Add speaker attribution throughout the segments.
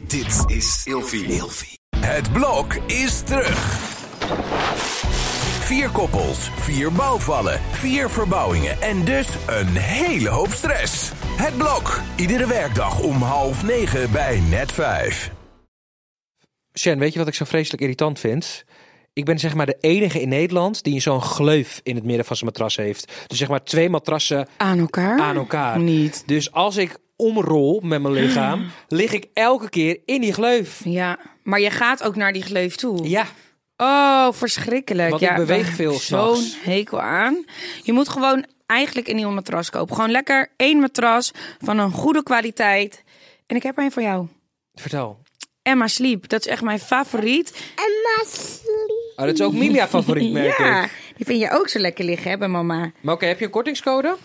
Speaker 1: Dit is Ilfie. Het blok is terug. Vier koppels, vier bouwvallen, vier verbouwingen en dus een hele hoop stress. Het blok, iedere werkdag om half negen bij net vijf.
Speaker 2: Shen, weet je wat ik zo vreselijk irritant vind? Ik ben zeg maar de enige in Nederland die zo'n gleuf in het midden van zijn matras heeft. Dus zeg maar twee matrassen
Speaker 3: Aan elkaar?
Speaker 2: aan elkaar.
Speaker 3: Ah, Niet.
Speaker 2: Dus als ik omrol met mijn lichaam, lig ik elke keer in die gleuf.
Speaker 3: Ja, maar je gaat ook naar die gleuf toe.
Speaker 2: Ja,
Speaker 3: Oh, verschrikkelijk.
Speaker 2: Want
Speaker 3: ja,
Speaker 2: ik beweeg
Speaker 3: daar heb
Speaker 2: veel
Speaker 3: ik Zo'n
Speaker 2: s'nachts.
Speaker 3: hekel aan. Je moet gewoon eigenlijk een nieuw matras kopen. Gewoon lekker één matras van een goede kwaliteit. En ik heb er een voor jou.
Speaker 2: vertel.
Speaker 3: Emma Sleep, dat is echt mijn favoriet.
Speaker 4: Emma Sleep.
Speaker 2: Oh, dat is ook Milia favoriet, merk
Speaker 3: ja,
Speaker 2: ik.
Speaker 3: die vind je ook zo lekker liggen, hè, bij mama.
Speaker 2: Maar oké, heb je een kortingscode?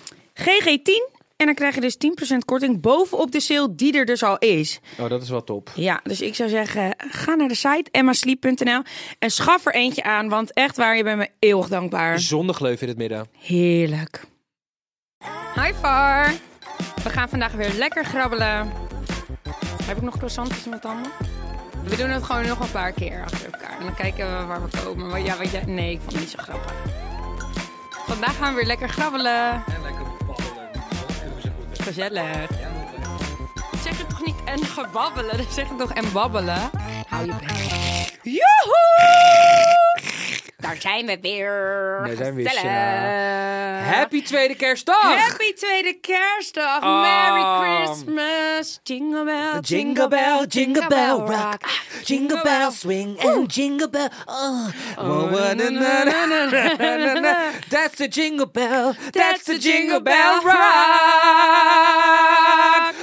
Speaker 3: GG10. En dan krijg je dus 10% korting bovenop de sale die er dus al is.
Speaker 2: Oh, dat is wel top.
Speaker 3: Ja, dus ik zou zeggen, ga naar de site emmasleep.nl en schaf er eentje aan. Want echt waar, je bent me eeuwig dankbaar.
Speaker 2: Zonder gleuf in het midden.
Speaker 3: Heerlijk. Hi Far. We gaan vandaag weer lekker grabbelen. Heb ik nog croissantjes met tanden? We doen het gewoon nog een paar keer achter elkaar. En dan kijken we waar we komen. Maar ja, weet je, nee, ik vond het niet zo grappig. Vandaag gaan we weer lekker grabbelen.
Speaker 2: En lekker ballen.
Speaker 3: Gezellig. Zeg het toch niet en gebabbelen? Zeg het toch en babbelen? Hou je bek. Joehoe! Daar zijn we weer.
Speaker 2: Daar zijn we weer,
Speaker 3: Gezellig. Eh,
Speaker 2: Happy tweede kerstdag!
Speaker 3: Happy tweede kerstdag.
Speaker 2: Oh.
Speaker 3: Merry Christmas. Jingle bell, jingle bell, jingle bell rock. Ah, Jingle bell
Speaker 5: swing and jingle bell.
Speaker 3: uh.
Speaker 5: Oh,
Speaker 2: That's the jingle bell.
Speaker 3: That's the jingle bell rock.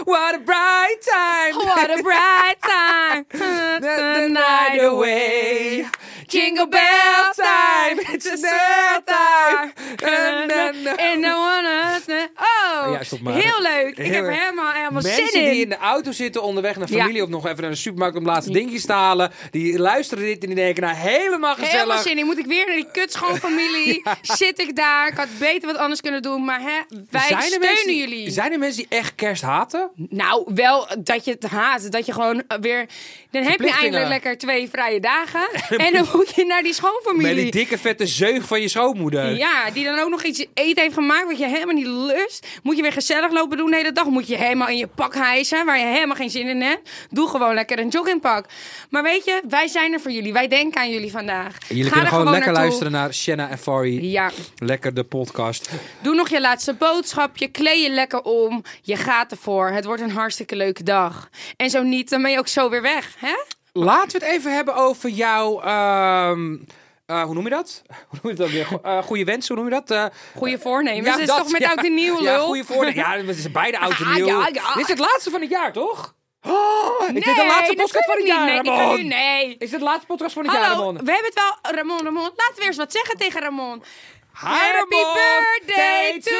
Speaker 2: What a bright time.
Speaker 3: What a bright time. Turn the night away. Jingle bell time, it's a third time. En dan wanna... Oh,
Speaker 2: Ja, stop maar.
Speaker 3: heel leuk. Ik
Speaker 2: Heel
Speaker 3: heb
Speaker 2: erg.
Speaker 3: er helemaal, helemaal
Speaker 2: Mensen
Speaker 3: zin
Speaker 2: die in
Speaker 3: in.
Speaker 2: de auto zitten onderweg naar
Speaker 3: Ja.
Speaker 2: familie of nog even naar de supermarkt om laatste dingetjes te halen. Die luisteren dit en die denken nou helemaal gezellig.
Speaker 3: Helemaal zin in. Moet ik weer naar die kutschoonfamilie? Zit ik daar? Ik had beter wat anders kunnen doen. Maar hè, wij
Speaker 2: Zijn er
Speaker 3: steunen
Speaker 2: mensen die-
Speaker 3: jullie.
Speaker 2: Zijn er mensen die echt kerst haten?
Speaker 3: Nou, wel dat je het haat. Dat je gewoon eh, weer... Dan heb je
Speaker 2: Verplichtingen.
Speaker 3: eindelijk lekker twee vrije dagen. En dan moet je naar die
Speaker 2: Met
Speaker 3: schoonfamilie.
Speaker 2: die dikke vette zeug van je schoonmoeder.
Speaker 3: Ja, die dan ook nog iets eten heeft gemaakt wat je helemaal niet lust. Moet je weer gezellig lopen doen de hele dag. Moet je helemaal in je pak hijsen waar je helemaal geen zin in hebt. Doe gewoon lekker een joggingpak. Maar weet je, wij zijn er voor jullie. Wij denken aan jullie vandaag.
Speaker 2: Jullie
Speaker 3: Ga
Speaker 2: kunnen
Speaker 3: er
Speaker 2: gewoon lekker
Speaker 3: naartoe.
Speaker 2: luisteren naar Shanna en Fari.
Speaker 3: Ja,
Speaker 2: Lekker de podcast.
Speaker 3: doe nog je laatste boodschapje. Kleed je lekker om. Je gaat ervoor. Het wordt een hartstikke leuke dag. En zo niet, dan ben je ook zo weer weg. Hè?
Speaker 2: Laten we het even hebben over jouw... ehm, eh, hoe noem je dat? Hoe noem je dat weer? Go- eh, goede wensen, hoe noem je dat? Eh,
Speaker 3: Goeie voornemens.
Speaker 2: ja,
Speaker 3: dat is
Speaker 2: dat,
Speaker 3: toch met
Speaker 2: ja.
Speaker 3: oud en nieuw, lul?
Speaker 2: Ja, goede voornemens. Ja, het is beide oud en
Speaker 3: Ja,
Speaker 2: nieuw.
Speaker 3: ja, ja.
Speaker 2: Dit is het laatste van het jaar, toch? Oh, ik dit de laatste
Speaker 3: Nee,
Speaker 2: podcast van het jaar,
Speaker 3: natuurlijk niet. Nee, die
Speaker 2: Ramon.
Speaker 3: kan nu- nee.
Speaker 2: Is dit de laatste podcast van het
Speaker 3: Hallo,
Speaker 2: jaar, Ramon?
Speaker 3: we hebben het wel. Ramon, Ramon, laten we eens wat zeggen tegen Ramon.
Speaker 2: Hi,
Speaker 3: Happy
Speaker 2: Ramon.
Speaker 3: birthday to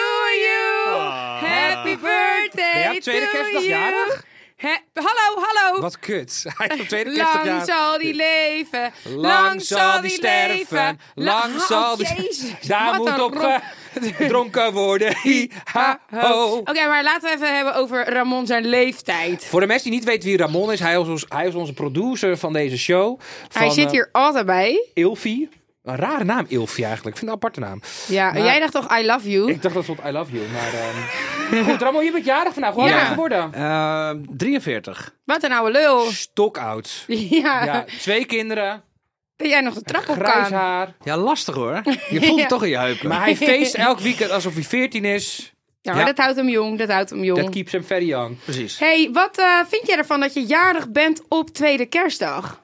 Speaker 3: you.
Speaker 2: Ah.
Speaker 3: Happy birthday
Speaker 2: Ben jij op tweede
Speaker 3: to
Speaker 2: kerstdag
Speaker 3: you.
Speaker 2: jarig?
Speaker 3: He- hallo, hallo.
Speaker 2: Wat kut. Hij is op tweede kerstdag
Speaker 3: Lang zal die leven,
Speaker 2: Lang zal die sterven,
Speaker 3: leven.
Speaker 2: lang
Speaker 3: Oh,
Speaker 2: zal die
Speaker 3: Jezus,
Speaker 2: Daar
Speaker 3: wat
Speaker 2: moet
Speaker 3: een
Speaker 2: op
Speaker 3: rom-
Speaker 2: gedronken worden. Hi, ha, ho.
Speaker 3: Oh. Oké, maar laten we even hebben over Ramon zijn leeftijd.
Speaker 2: Voor de mensen die niet weten wie Ramon is, hij is, ons- hij is onze producer van deze show. Van,
Speaker 3: Hij zit
Speaker 2: eh,
Speaker 3: hier altijd bij.
Speaker 2: Ilfie. Een rare naam, Ilfie eigenlijk. Ik vind het een aparte naam.
Speaker 3: Ja, en
Speaker 2: maar-
Speaker 3: jij dacht toch I love you?
Speaker 2: Ik dacht dat stond I love you, maar... ehm, Goed, Ramon, je bent jarig vandaag. Hoe oud
Speaker 3: Ja. Eh,
Speaker 2: ben je geworden?
Speaker 5: Ehm, 43.
Speaker 3: Wat een oude lul.
Speaker 2: Stokoud.
Speaker 3: Ja,
Speaker 2: Ja, twee kinderen,
Speaker 3: dat jij nog de trap op
Speaker 2: grijs
Speaker 3: kan.
Speaker 2: haar.
Speaker 5: Ja, lastig hoor. Je voelt het toch in je heupen.
Speaker 2: Maar hij feest elk weekend alsof hij 14 is.
Speaker 3: Ja, maar
Speaker 5: Ja.
Speaker 3: dat houdt hem jong, dat houdt hem jong.
Speaker 2: Dat keeps hem very young.
Speaker 5: Precies.
Speaker 3: hey, wat eh, vind jij ervan dat je jarig bent op tweede kerstdag?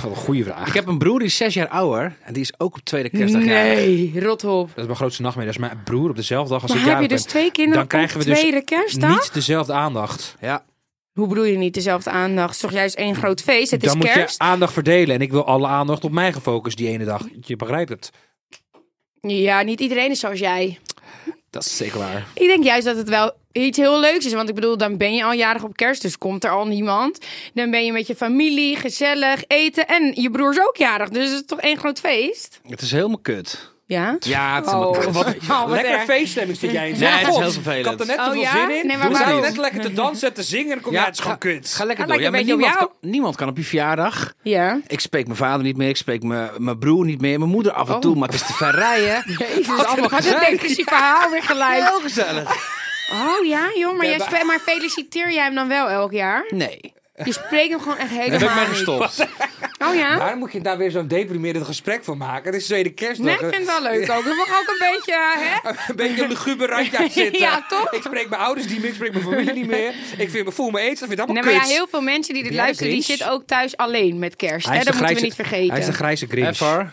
Speaker 2: Goede goeie vraag.
Speaker 5: Ik heb een broer die is zes jaar ouder. En die is ook op tweede kerstdag jarig.
Speaker 3: Nee, rot op.
Speaker 2: Dat is mijn grootste nachtmerrie. Dat is mijn broer op dezelfde dag als
Speaker 3: Maar
Speaker 2: ik
Speaker 3: heb je
Speaker 2: jarig
Speaker 3: dus
Speaker 2: ben.
Speaker 3: twee kinderen
Speaker 2: Dan krijgen
Speaker 3: op
Speaker 2: we dus
Speaker 3: tweede kerstdag?
Speaker 2: Niet dezelfde aandacht.
Speaker 5: Ja.
Speaker 3: Hoe bedoel je niet dezelfde aandacht? Het is toch juist één groot feest? Het
Speaker 2: Dan
Speaker 3: is
Speaker 2: moet je
Speaker 3: kerst?
Speaker 2: aandacht verdelen. En ik wil alle aandacht op mij gefocust die ene dag. Je begrijpt het.
Speaker 3: Ja, niet iedereen is zoals jij.
Speaker 2: Dat is zeker waar.
Speaker 3: Ik denk juist dat het wel iets heel leuks is. Want ik bedoel, dan ben je al jarig op kerst, dus komt er al niemand. Dan ben je met je familie, gezellig, eten en je broer is ook jarig. Dus het is toch één groot feest?
Speaker 5: Het is helemaal kut.
Speaker 3: Ja?
Speaker 5: Ja, het is
Speaker 3: Oh,
Speaker 5: een-
Speaker 3: wat- oh, wat
Speaker 2: Lekker
Speaker 3: erg.
Speaker 2: feeststemming zit jij in.
Speaker 5: Nee, het is
Speaker 2: God,
Speaker 5: heel vervelend.
Speaker 2: Ik had er net te
Speaker 3: Oh,
Speaker 2: veel
Speaker 3: ja?
Speaker 2: zin in.
Speaker 3: Nee, maar
Speaker 2: we
Speaker 3: waarom?
Speaker 2: zaten net lekker te dansen en te zingen. En dan kom je uit, het is gewoon kut.
Speaker 5: Ga lekker
Speaker 3: Ah,
Speaker 5: door.
Speaker 3: lijkt
Speaker 5: Ja, maar
Speaker 3: een beetje op
Speaker 5: niemand kan,
Speaker 3: jou.
Speaker 5: niemand kan op je verjaardag.
Speaker 3: Ja.
Speaker 5: Ik spreek mijn vader niet meer. Ik spreek mijn, mijn broer niet meer. Mijn moeder af en
Speaker 3: Oh.
Speaker 5: toe. Maar het is te verrijden.
Speaker 3: Jezus, allemaal had het depressie verhaal weer gelijk.
Speaker 5: Heel gezellig.
Speaker 3: Oh ja, joh, maar, jij
Speaker 2: hebben-
Speaker 3: spe- maar feliciteer jij hem dan wel elk jaar?
Speaker 5: Nee.
Speaker 3: Je spreekt hem gewoon echt
Speaker 5: Daar heb ik
Speaker 3: helemaal
Speaker 5: mee
Speaker 3: niet.
Speaker 5: gestopt.
Speaker 3: Oh ja?
Speaker 2: Waarom moet je daar weer zo'n deprimerend gesprek van maken? Het is tweede kerstdag.
Speaker 3: Nee, ik vind het wel leuk ook. Dat mag ook een beetje, hè?
Speaker 2: Een beetje een luguber randje aan zitten.
Speaker 3: Ja, toch?
Speaker 2: Ik spreek mijn ouders niet meer, ik spreek mijn familie niet meer. Ik vind, voel me eens, dat vind ik
Speaker 3: Nee,
Speaker 2: allemaal
Speaker 3: maar ja,
Speaker 2: kut.
Speaker 3: heel veel mensen die dit
Speaker 2: Ben jij
Speaker 3: luisteren, die
Speaker 2: Grinch?
Speaker 3: zitten ook thuis alleen met kerst. Hè? Dat moeten we niet vergeten.
Speaker 2: Hij is de grijze Grinch.
Speaker 5: Ever.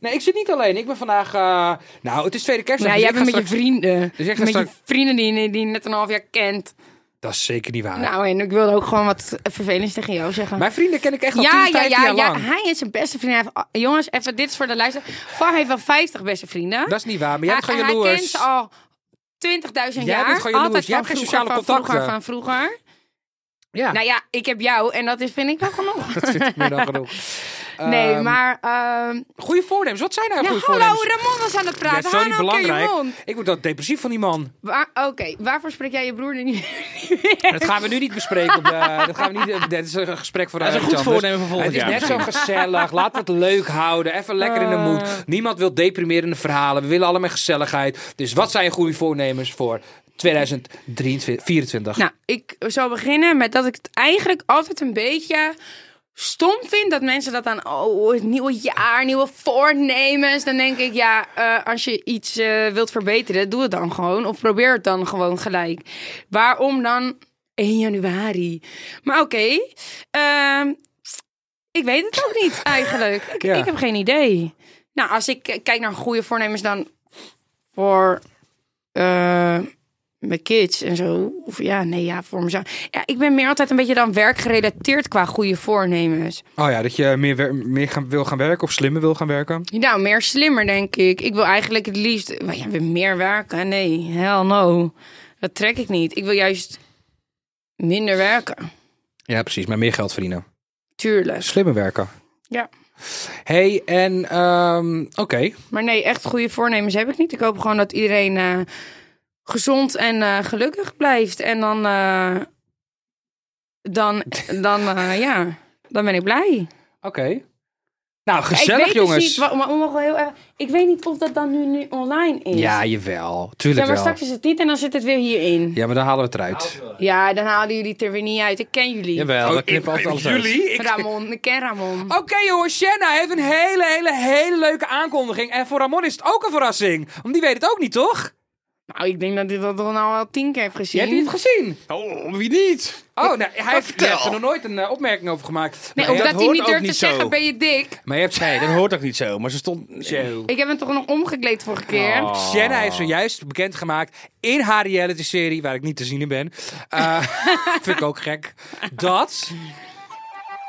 Speaker 2: Nee, ik zit niet alleen. Ik ben vandaag... eh, nou, het is tweede kerstdag.
Speaker 3: Nou,
Speaker 2: dus
Speaker 3: jij
Speaker 2: ik
Speaker 3: bent met
Speaker 2: ga
Speaker 3: je
Speaker 2: straks-
Speaker 3: vrienden.
Speaker 2: Dus jij gaat
Speaker 3: met je
Speaker 2: straks-
Speaker 3: vrienden die, je- die je net een half jaar kent.
Speaker 2: Dat is zeker niet waar.
Speaker 3: Nou, en ik wilde ook gewoon wat vervelends tegen jou zeggen.
Speaker 2: Mijn vrienden ken ik echt al
Speaker 3: ja,
Speaker 2: 10,
Speaker 3: ja,
Speaker 2: 15
Speaker 3: ja,
Speaker 2: jaar
Speaker 3: ja.
Speaker 2: lang.
Speaker 3: Hij is zijn beste vriend. Hij heeft- jongens, even dit is voor de luister. Var heeft wel 50 beste vrienden.
Speaker 2: Dat is niet waar, maar jij bent
Speaker 3: hij,
Speaker 2: gewoon
Speaker 3: hij
Speaker 2: jaloers.
Speaker 3: kent ze al 20.000
Speaker 2: Jij
Speaker 3: jaar.
Speaker 2: bent gewoon jaloers.
Speaker 3: Altijd
Speaker 2: Jij
Speaker 3: van
Speaker 2: hebt geen
Speaker 3: vroeger,
Speaker 2: sociale
Speaker 3: van
Speaker 2: contacten.
Speaker 3: Vroeger, van vroeger.
Speaker 2: Ja,
Speaker 3: Nou ja, ik heb jou en dat is, vind ik wel genoeg.
Speaker 2: dat vind ik meer dan genoeg.
Speaker 3: nee,
Speaker 2: Ehm,
Speaker 3: maar... ehm,
Speaker 2: Goeie voornemens. Wat zijn nou
Speaker 3: ja,
Speaker 2: goede
Speaker 3: hallo,
Speaker 2: voornemens?
Speaker 3: Ramon was aan het
Speaker 2: Ja,
Speaker 3: praten.
Speaker 2: is zo
Speaker 3: Hou
Speaker 2: niet
Speaker 3: nou een keer je
Speaker 2: belangrijk.
Speaker 3: mond.
Speaker 2: Ik word dat depressief van die man.
Speaker 3: Waar- Oké, waarvoor spreek jij je broer nu niet?
Speaker 2: Dat gaan we nu niet bespreken. op de- dat gaan we niet. eh, Dit is een gesprek voor de
Speaker 5: Dat is een
Speaker 2: uitzending.
Speaker 5: goed voornemen voor volgend
Speaker 2: Het is
Speaker 5: jaar
Speaker 2: net zo gezellig. Laat het leuk houden. Even lekker in
Speaker 3: Eh.
Speaker 2: de moed. Niemand wil deprimerende verhalen. We willen allemaal gezelligheid. Dus wat zijn je goede voornemens voor 2024?
Speaker 3: Nou, ik zou beginnen met dat ik het eigenlijk altijd een beetje stom vind dat mensen dat aan oh het nieuwe jaar, nieuwe voornemens. Dan denk ik ja, eh, als je iets eh, wilt verbeteren, doe het dan gewoon of probeer het dan gewoon gelijk. Waarom dan 1 januari? Maar oké, ehm, ik weet het ook niet eigenlijk. Ik,
Speaker 2: Ja.
Speaker 3: ik heb geen idee. Nou, als ik eh, kijk naar goede voornemens dan voor eh, mijn kids en zo. Of ja, nee, ja, voor mezelf. Ja, ik ben meer altijd een beetje dan werkgerelateerd qua goede voornemens.
Speaker 2: Oh ja, dat je meer, wer- meer gaan, wil gaan werken of slimmer wil gaan werken.
Speaker 3: Nou, meer slimmer, denk ik. Ik wil eigenlijk het liefst... Maar ja, weer meer werken? Nee, hell no. Dat trek ik niet. Ik wil juist minder werken.
Speaker 2: Ja, precies. Maar meer geld verdienen.
Speaker 3: Tuurlijk.
Speaker 2: Slimmer werken.
Speaker 3: Ja.
Speaker 2: hey, en ehm, oké.
Speaker 3: Maar nee, echt goede voornemens heb ik niet. Ik hoop gewoon dat iedereen eh, gezond en eh, gelukkig blijft. En dan... eh, dan, dan eh, ja... Dan ben ik blij.
Speaker 2: Oké. Nou, gezellig
Speaker 3: ik weet
Speaker 2: jongens.
Speaker 3: Dus niet, wa- maar we mogen heel erg, ik weet niet of dat dan nu, nu online is.
Speaker 2: Ja, jawel.
Speaker 3: Ja,
Speaker 2: Tuurlijk
Speaker 3: maar
Speaker 2: wel.
Speaker 3: straks is het niet en dan zit het weer hierin.
Speaker 2: Ja, maar dan halen we het eruit.
Speaker 3: Ja, dan halen jullie het er weer niet uit. Ik ken jullie.
Speaker 5: Jawel,
Speaker 2: Oh,
Speaker 5: we knippen altijd alles uit.
Speaker 3: Ramon, ik ken Ramon.
Speaker 2: Oké jongens, Shanna heeft een hele, hele, hele leuke aankondiging. En voor Ramon is het ook een verrassing. Want die weet het ook niet, toch?
Speaker 3: Nou, ik denk dat dit dat al nou al tien keer heeft gezien.
Speaker 2: Je hebt het niet gezien.
Speaker 5: Oh, wie niet?
Speaker 2: Oh, nou, hij heeft, je
Speaker 5: vertel.
Speaker 2: hebt er nog nooit een eh, opmerking over gemaakt.
Speaker 3: Nee,
Speaker 2: maar,
Speaker 3: of
Speaker 2: je hebt,
Speaker 3: dat
Speaker 5: dat
Speaker 3: hij
Speaker 5: hoort
Speaker 3: niet
Speaker 5: ook
Speaker 3: durft te
Speaker 5: niet zo.
Speaker 3: zeggen, ben je dik?
Speaker 2: maar je hebt...
Speaker 5: Nee, dat hoort ook niet zo. Maar ze stond...
Speaker 3: Ik heb hem toch nog omgekleed vorige keer?
Speaker 2: Shanna heeft zojuist bekendgemaakt in haar reality-serie, waar ik niet te zien in ben. eh, vind ik ook gek. Dat...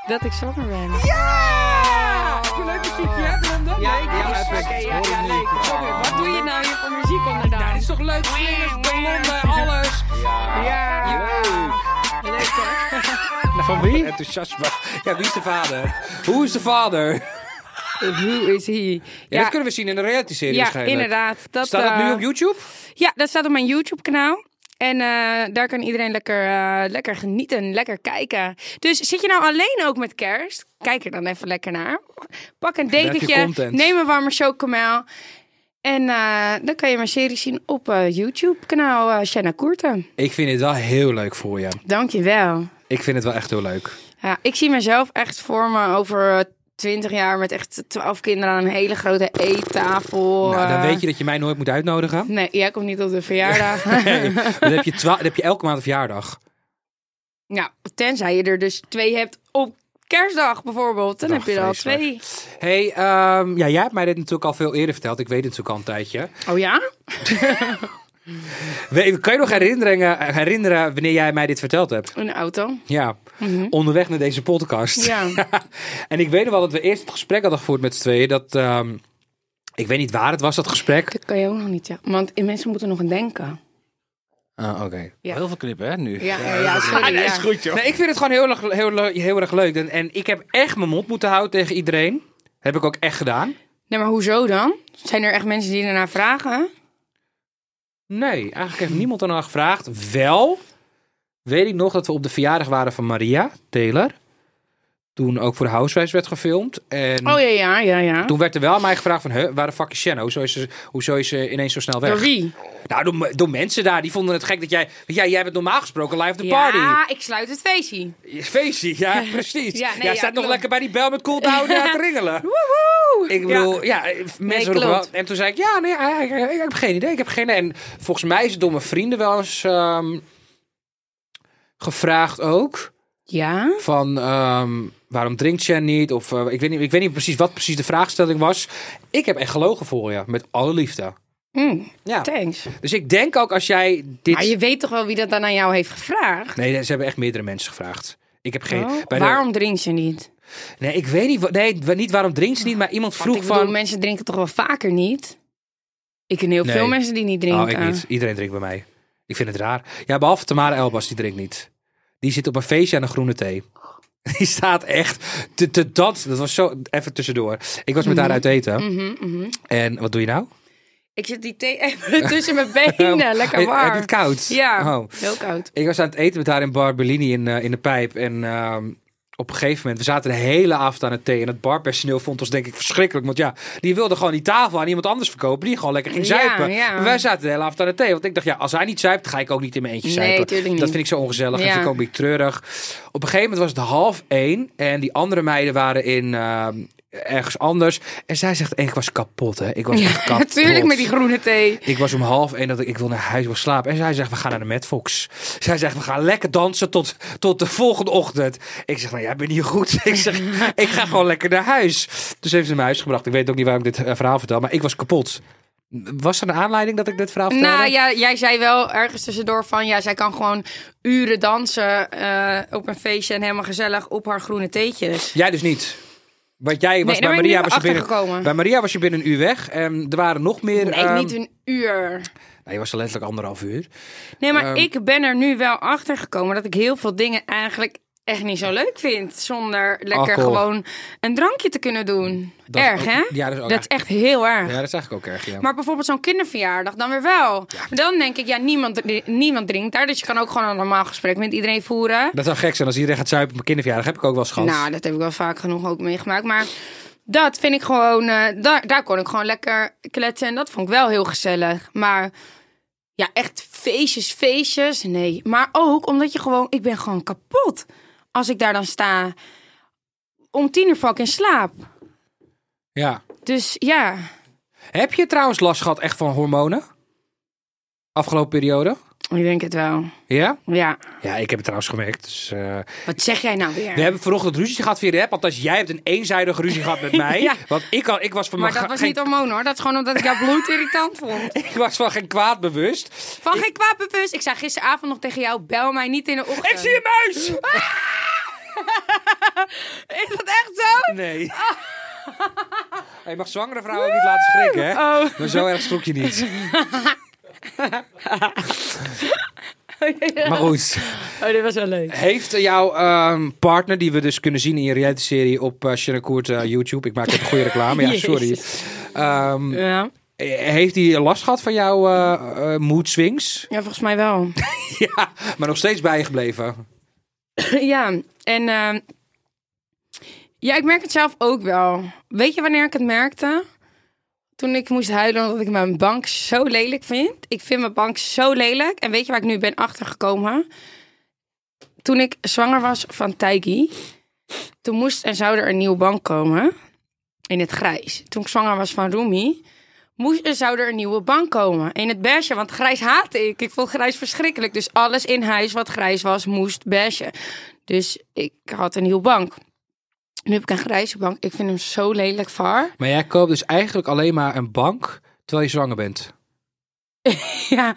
Speaker 3: Dat ik zwanger ben. Oh,
Speaker 2: Ja! Leuk muziekje, hè? Wil je hem dan?
Speaker 3: Ja,
Speaker 2: Nee, dit is-
Speaker 3: ja,
Speaker 2: Oké,
Speaker 3: ja, ja, leuk. Wat doe je nou hier voor muziek onderdaan?
Speaker 2: Ja, dit is toch leuk? Slingers, ballonnen, alles.
Speaker 3: Ja, leuk hoor.
Speaker 5: Van wie?
Speaker 2: Enthousiasme. Ja, wie is de vader? Hoe is de vader? Ja,
Speaker 3: Who is he?
Speaker 2: dat kunnen we zien in de reality-serie
Speaker 3: Ja,
Speaker 2: waarschijnlijk.
Speaker 3: inderdaad. Dat,
Speaker 2: Staat dat
Speaker 3: eh,
Speaker 2: nu op YouTube?
Speaker 3: Ja, dat staat op mijn YouTube-kanaal. En eh, daar kan iedereen lekker, eh, lekker genieten, lekker kijken. Dus zit je nou alleen ook met kerst? Kijk er dan even lekker naar. Pak een dekentje,
Speaker 2: content.
Speaker 3: neem een warme chocomel. En eh, dan kan je mijn serie zien op eh, YouTube-kanaal eh Shanna Koerten.
Speaker 2: Ik vind het wel heel leuk voor je.
Speaker 3: Dankjewel.
Speaker 2: Ik vind het wel echt heel leuk.
Speaker 3: Ja, ik zie mezelf echt voor me over twintig jaar met echt twaalf kinderen aan een hele grote eettafel.
Speaker 2: Nou, dan
Speaker 3: eh.
Speaker 2: weet je dat je mij nooit moet uitnodigen.
Speaker 3: Nee, jij komt niet op de verjaardag.
Speaker 2: Nee, dan, heb je twa- dan heb je elke maand een verjaardag.
Speaker 3: Nou, tenzij je er dus twee hebt op kerstdag bijvoorbeeld. Dan
Speaker 2: Dag,
Speaker 3: heb je er al
Speaker 2: vreselijk.
Speaker 3: twee.
Speaker 2: hey, ehm, ja, jij hebt mij dit natuurlijk al veel eerder verteld. Ik weet het natuurlijk al een tijdje.
Speaker 3: Oh ja?
Speaker 2: We- Kan je nog herinneren, herinneren wanneer jij mij dit verteld hebt?
Speaker 3: Een auto.
Speaker 2: Ja, onderweg naar deze podcast.
Speaker 3: Ja.
Speaker 2: en ik weet nog wel dat we eerst het gesprek hadden gevoerd met z'n tweeën. Dat, ehm, ik weet niet waar het was, dat gesprek.
Speaker 3: Dat kan je ook nog niet zeggen. Want mensen moeten nog aan denken.
Speaker 2: Ah, Oké.
Speaker 3: Ja.
Speaker 5: Heel veel knippen, hè, nu?
Speaker 3: Ja, ja, ja, sorry, ja.
Speaker 5: goed, joh.
Speaker 2: Nee, ik vind het gewoon heel, erg- heel, le- heel erg leuk. En, en ik heb echt mijn mond moeten houden tegen iedereen. Heb ik ook echt gedaan.
Speaker 3: Nee, maar hoezo dan? Zijn er echt mensen die ernaar vragen?
Speaker 2: Mm. Nee, eigenlijk heeft niemand ernaar gevraagd. Wel weet ik nog dat we op de verjaardag waren van Maria Taylor. Toen ook voor Housewives werd gefilmd. En
Speaker 3: Oh ja, ja, ja, ja.
Speaker 2: toen werd er wel aan mij gevraagd van... "Huh, waar de fuck is Shannon? Hoezo is ze, hoezo is ze ineens zo snel weg?
Speaker 3: Door wie?
Speaker 2: Nou, door, me- door mensen daar. Die vonden het gek dat jij... want Jij, jij bent normaal gesproken live de party.
Speaker 3: Ja, ik sluit het feestje.
Speaker 2: Feestje, ja, precies.
Speaker 3: Ja, nee,
Speaker 2: jij
Speaker 3: ja,
Speaker 2: staat nog
Speaker 3: klopt.
Speaker 2: lekker bij die bel met cooldown eh, te ringelen. Ik bedoel, ja, eh, mensen roepen wel.
Speaker 3: klopt.
Speaker 2: En toen zei ik, ja, nee, ja, ik, ik heb geen idee. Ik heb geen idee. En volgens mij is het door mijn vrienden wel eens ehm, gevraagd ook.
Speaker 3: Ja?
Speaker 2: Van, ehm, waarom drinkt Jen niet? Of eh, ik, weet niet, ik weet niet precies wat precies de vraagstelling was. Ik heb echt gelogen voor je, met alle liefde.
Speaker 3: Hm,
Speaker 2: Ja.
Speaker 3: thanks.
Speaker 2: Dus ik denk ook als jij dit...
Speaker 3: Maar je weet toch wel wie dat dan aan jou heeft gevraagd?
Speaker 2: Nee, ze hebben echt meerdere mensen gevraagd. Ik heb geen...
Speaker 3: Oh,
Speaker 2: bij de-
Speaker 3: Waarom drinkt ze niet?
Speaker 2: Nee, ik weet niet, wa- nee, niet waarom drinkt ze niet, maar iemand
Speaker 3: Want
Speaker 2: vroeg
Speaker 3: ik bedoel,
Speaker 2: van...
Speaker 3: mensen drinken toch wel vaker niet? Ik ken heel
Speaker 2: Nee.
Speaker 3: veel mensen die niet drinken.
Speaker 2: Oh, ik niet. Iedereen drinkt bij mij. Ik vind het raar. Ja, behalve Tamara Elbas, die drinkt niet. Die zit op een feestje aan een groene thee. Die staat echt te, te dansen. Dat was zo... Even tussendoor. Ik was met haar uit eten.
Speaker 3: Mhm, mhm.
Speaker 2: En wat doe je nou?
Speaker 3: Ik zit die thee even tussen mijn benen. Lekker
Speaker 2: Ehm, Heb- Heb je
Speaker 3: warm.
Speaker 2: het koud?
Speaker 3: Ja,
Speaker 2: Oh.
Speaker 3: heel koud.
Speaker 2: Ik was aan het eten met haar in Bar Bellini in, eh, in de pijp. En ehm, op een gegeven moment, we zaten de hele avond aan het thee. En het barpersoneel vond ons denk ik verschrikkelijk. Want ja, die wilde gewoon die tafel aan iemand anders verkopen. Die gewoon lekker ging
Speaker 3: Ja,
Speaker 2: zuipen.
Speaker 3: ja.
Speaker 2: Maar wij zaten de hele avond aan het thee. Want ik dacht, ja, als hij niet zuipt, ga ik ook niet in mijn eentje
Speaker 3: Nee,
Speaker 2: zuipen.
Speaker 3: tuurlijk niet.
Speaker 2: Dat vind ik zo ongezellig. en
Speaker 3: Ja.
Speaker 2: Dat vind ik ook een beetje treurig. Op een gegeven moment was het half één. En die andere meiden waren in... ehm, Ergens anders. En zij zegt: en Ik was kapot, hè? Ik was echt
Speaker 3: Ja,
Speaker 2: kapot.
Speaker 3: natuurlijk met die groene thee.
Speaker 2: Ik was om half één dat ik, ik wil naar huis, ik wil slapen. En zij zegt, we gaan naar de Madfox. Zij zegt, we gaan lekker dansen tot, tot de volgende ochtend. Ik zeg, nou jij bent niet goed. Ik zeg, ik ga gewoon lekker naar huis. Dus heeft ze me naar huis gebracht. Ik weet ook niet waarom ik dit eh, verhaal vertel, maar ik was kapot. Was er een aanleiding dat ik dit verhaal vertelde?
Speaker 3: Nou ja, jij zei wel ergens tussendoor van ja, zij kan gewoon uren dansen eh, op een feestje en helemaal gezellig op haar groene theetjes.
Speaker 2: Jij dus niet. Want jij was
Speaker 3: daar
Speaker 2: bij
Speaker 3: ben ik
Speaker 2: Maria
Speaker 3: nu
Speaker 2: was je binnen,
Speaker 3: achtergekomen.
Speaker 2: bij Maria was je binnen een uur weg. En er waren nog meer.
Speaker 3: Nee,
Speaker 2: ehm,
Speaker 3: niet een uur.
Speaker 2: nee, je was er letterlijk anderhalf uur.
Speaker 3: Nee, maar
Speaker 2: ehm,
Speaker 3: ik ben er nu wel achter gekomen dat ik heel veel dingen eigenlijk echt niet zo leuk vind. Zonder lekker
Speaker 2: Alcohol.
Speaker 3: gewoon een drankje te kunnen doen.
Speaker 2: Dat is
Speaker 3: erg,
Speaker 2: ook-
Speaker 3: hè?
Speaker 2: ja, dat is ook echt-
Speaker 3: echt heel erg.
Speaker 2: Ja, dat is eigenlijk ook erg. Ja.
Speaker 3: Maar bijvoorbeeld zo'n kinderverjaardag dan weer wel. Dan denk ik, ja, niemand, dri- niemand drinkt daar. Dus je kan ook gewoon een normaal gesprek met iedereen voeren.
Speaker 2: Dat zou gek zijn als iedereen gaat zuipen op mijn kinderverjaardag. Heb ik ook wel eens gehad.
Speaker 3: Nou, dat heb ik wel vaak genoeg ook meegemaakt. Maar dat vind ik gewoon. eh, daar, daar kon ik gewoon lekker kletsen. En dat vond ik wel heel gezellig. Maar ja, echt feestjes, feestjes. Nee. Maar ook omdat je gewoon. Ik ben gewoon kapot. Als ik daar dan sta. Om tien uur val ik in slaap.
Speaker 2: Ja.
Speaker 3: Dus ja.
Speaker 2: Heb je trouwens last gehad echt van hormonen? Afgelopen periode?
Speaker 3: Ik denk het wel.
Speaker 2: Ja?
Speaker 3: Ja.
Speaker 2: Ja, ik heb het trouwens gemerkt. Dus, eh,
Speaker 3: Wat zeg jij nou weer?
Speaker 2: we hebben vanochtend ruzie gehad via de app. Althans, jij hebt een eenzijdige ruzie gehad met mij.
Speaker 3: Ja.
Speaker 2: Want ik, had, ik, was van
Speaker 3: maar
Speaker 2: mijn
Speaker 3: dat was
Speaker 2: geen,
Speaker 3: niet hormoon hoor. Dat is gewoon omdat ik jouw bloed irritant vond.
Speaker 2: ik was van geen kwaad bewust.
Speaker 3: Van geen kwaad bewust. Ik zei gisteravond nog tegen jou: bel mij niet in de ochtend.
Speaker 2: Ik zie een muis!
Speaker 3: Is dat echt zo?
Speaker 2: Nee. Hey, je mag zwangere vrouwen ook niet laten schrikken, hè?
Speaker 3: Oh.
Speaker 2: Maar zo erg schrok je niet. Maar goed.
Speaker 3: Oh, dit was wel leuk.
Speaker 2: Heeft jouw ehm, partner, die we dus kunnen zien in je reality-serie op eh Shannon Koert eh, YouTube... Ik maak even goede reclame, ja, sorry. Ehm,
Speaker 3: Ja.
Speaker 2: Heeft hij last gehad van jouw eh eh, mood swings?
Speaker 3: ja, volgens mij wel.
Speaker 2: ja, maar nog steeds bijgebleven.
Speaker 3: ja, en ehm, ja, ik merk het zelf ook wel. Weet je wanneer ik het merkte? Toen ik moest huilen omdat ik mijn bank zo lelijk vind. Ik vind mijn bank zo lelijk. En weet je waar ik nu ben achtergekomen? Toen ik zwanger was van Taiki, toen moest en zou er een nieuwe bank komen in het grijs. Toen ik zwanger was van Rumi, moest en zou er een nieuwe bank komen in het beige. Want grijs haatte ik. Ik vond grijs verschrikkelijk. Dus alles in huis wat grijs was, moest beige. Dus ik had een nieuwe bank. Nu heb ik een grijze bank. Ik vind hem zo lelijk, Var.
Speaker 2: Maar jij koopt dus eigenlijk alleen maar een bank terwijl je zwanger bent.
Speaker 3: Ja.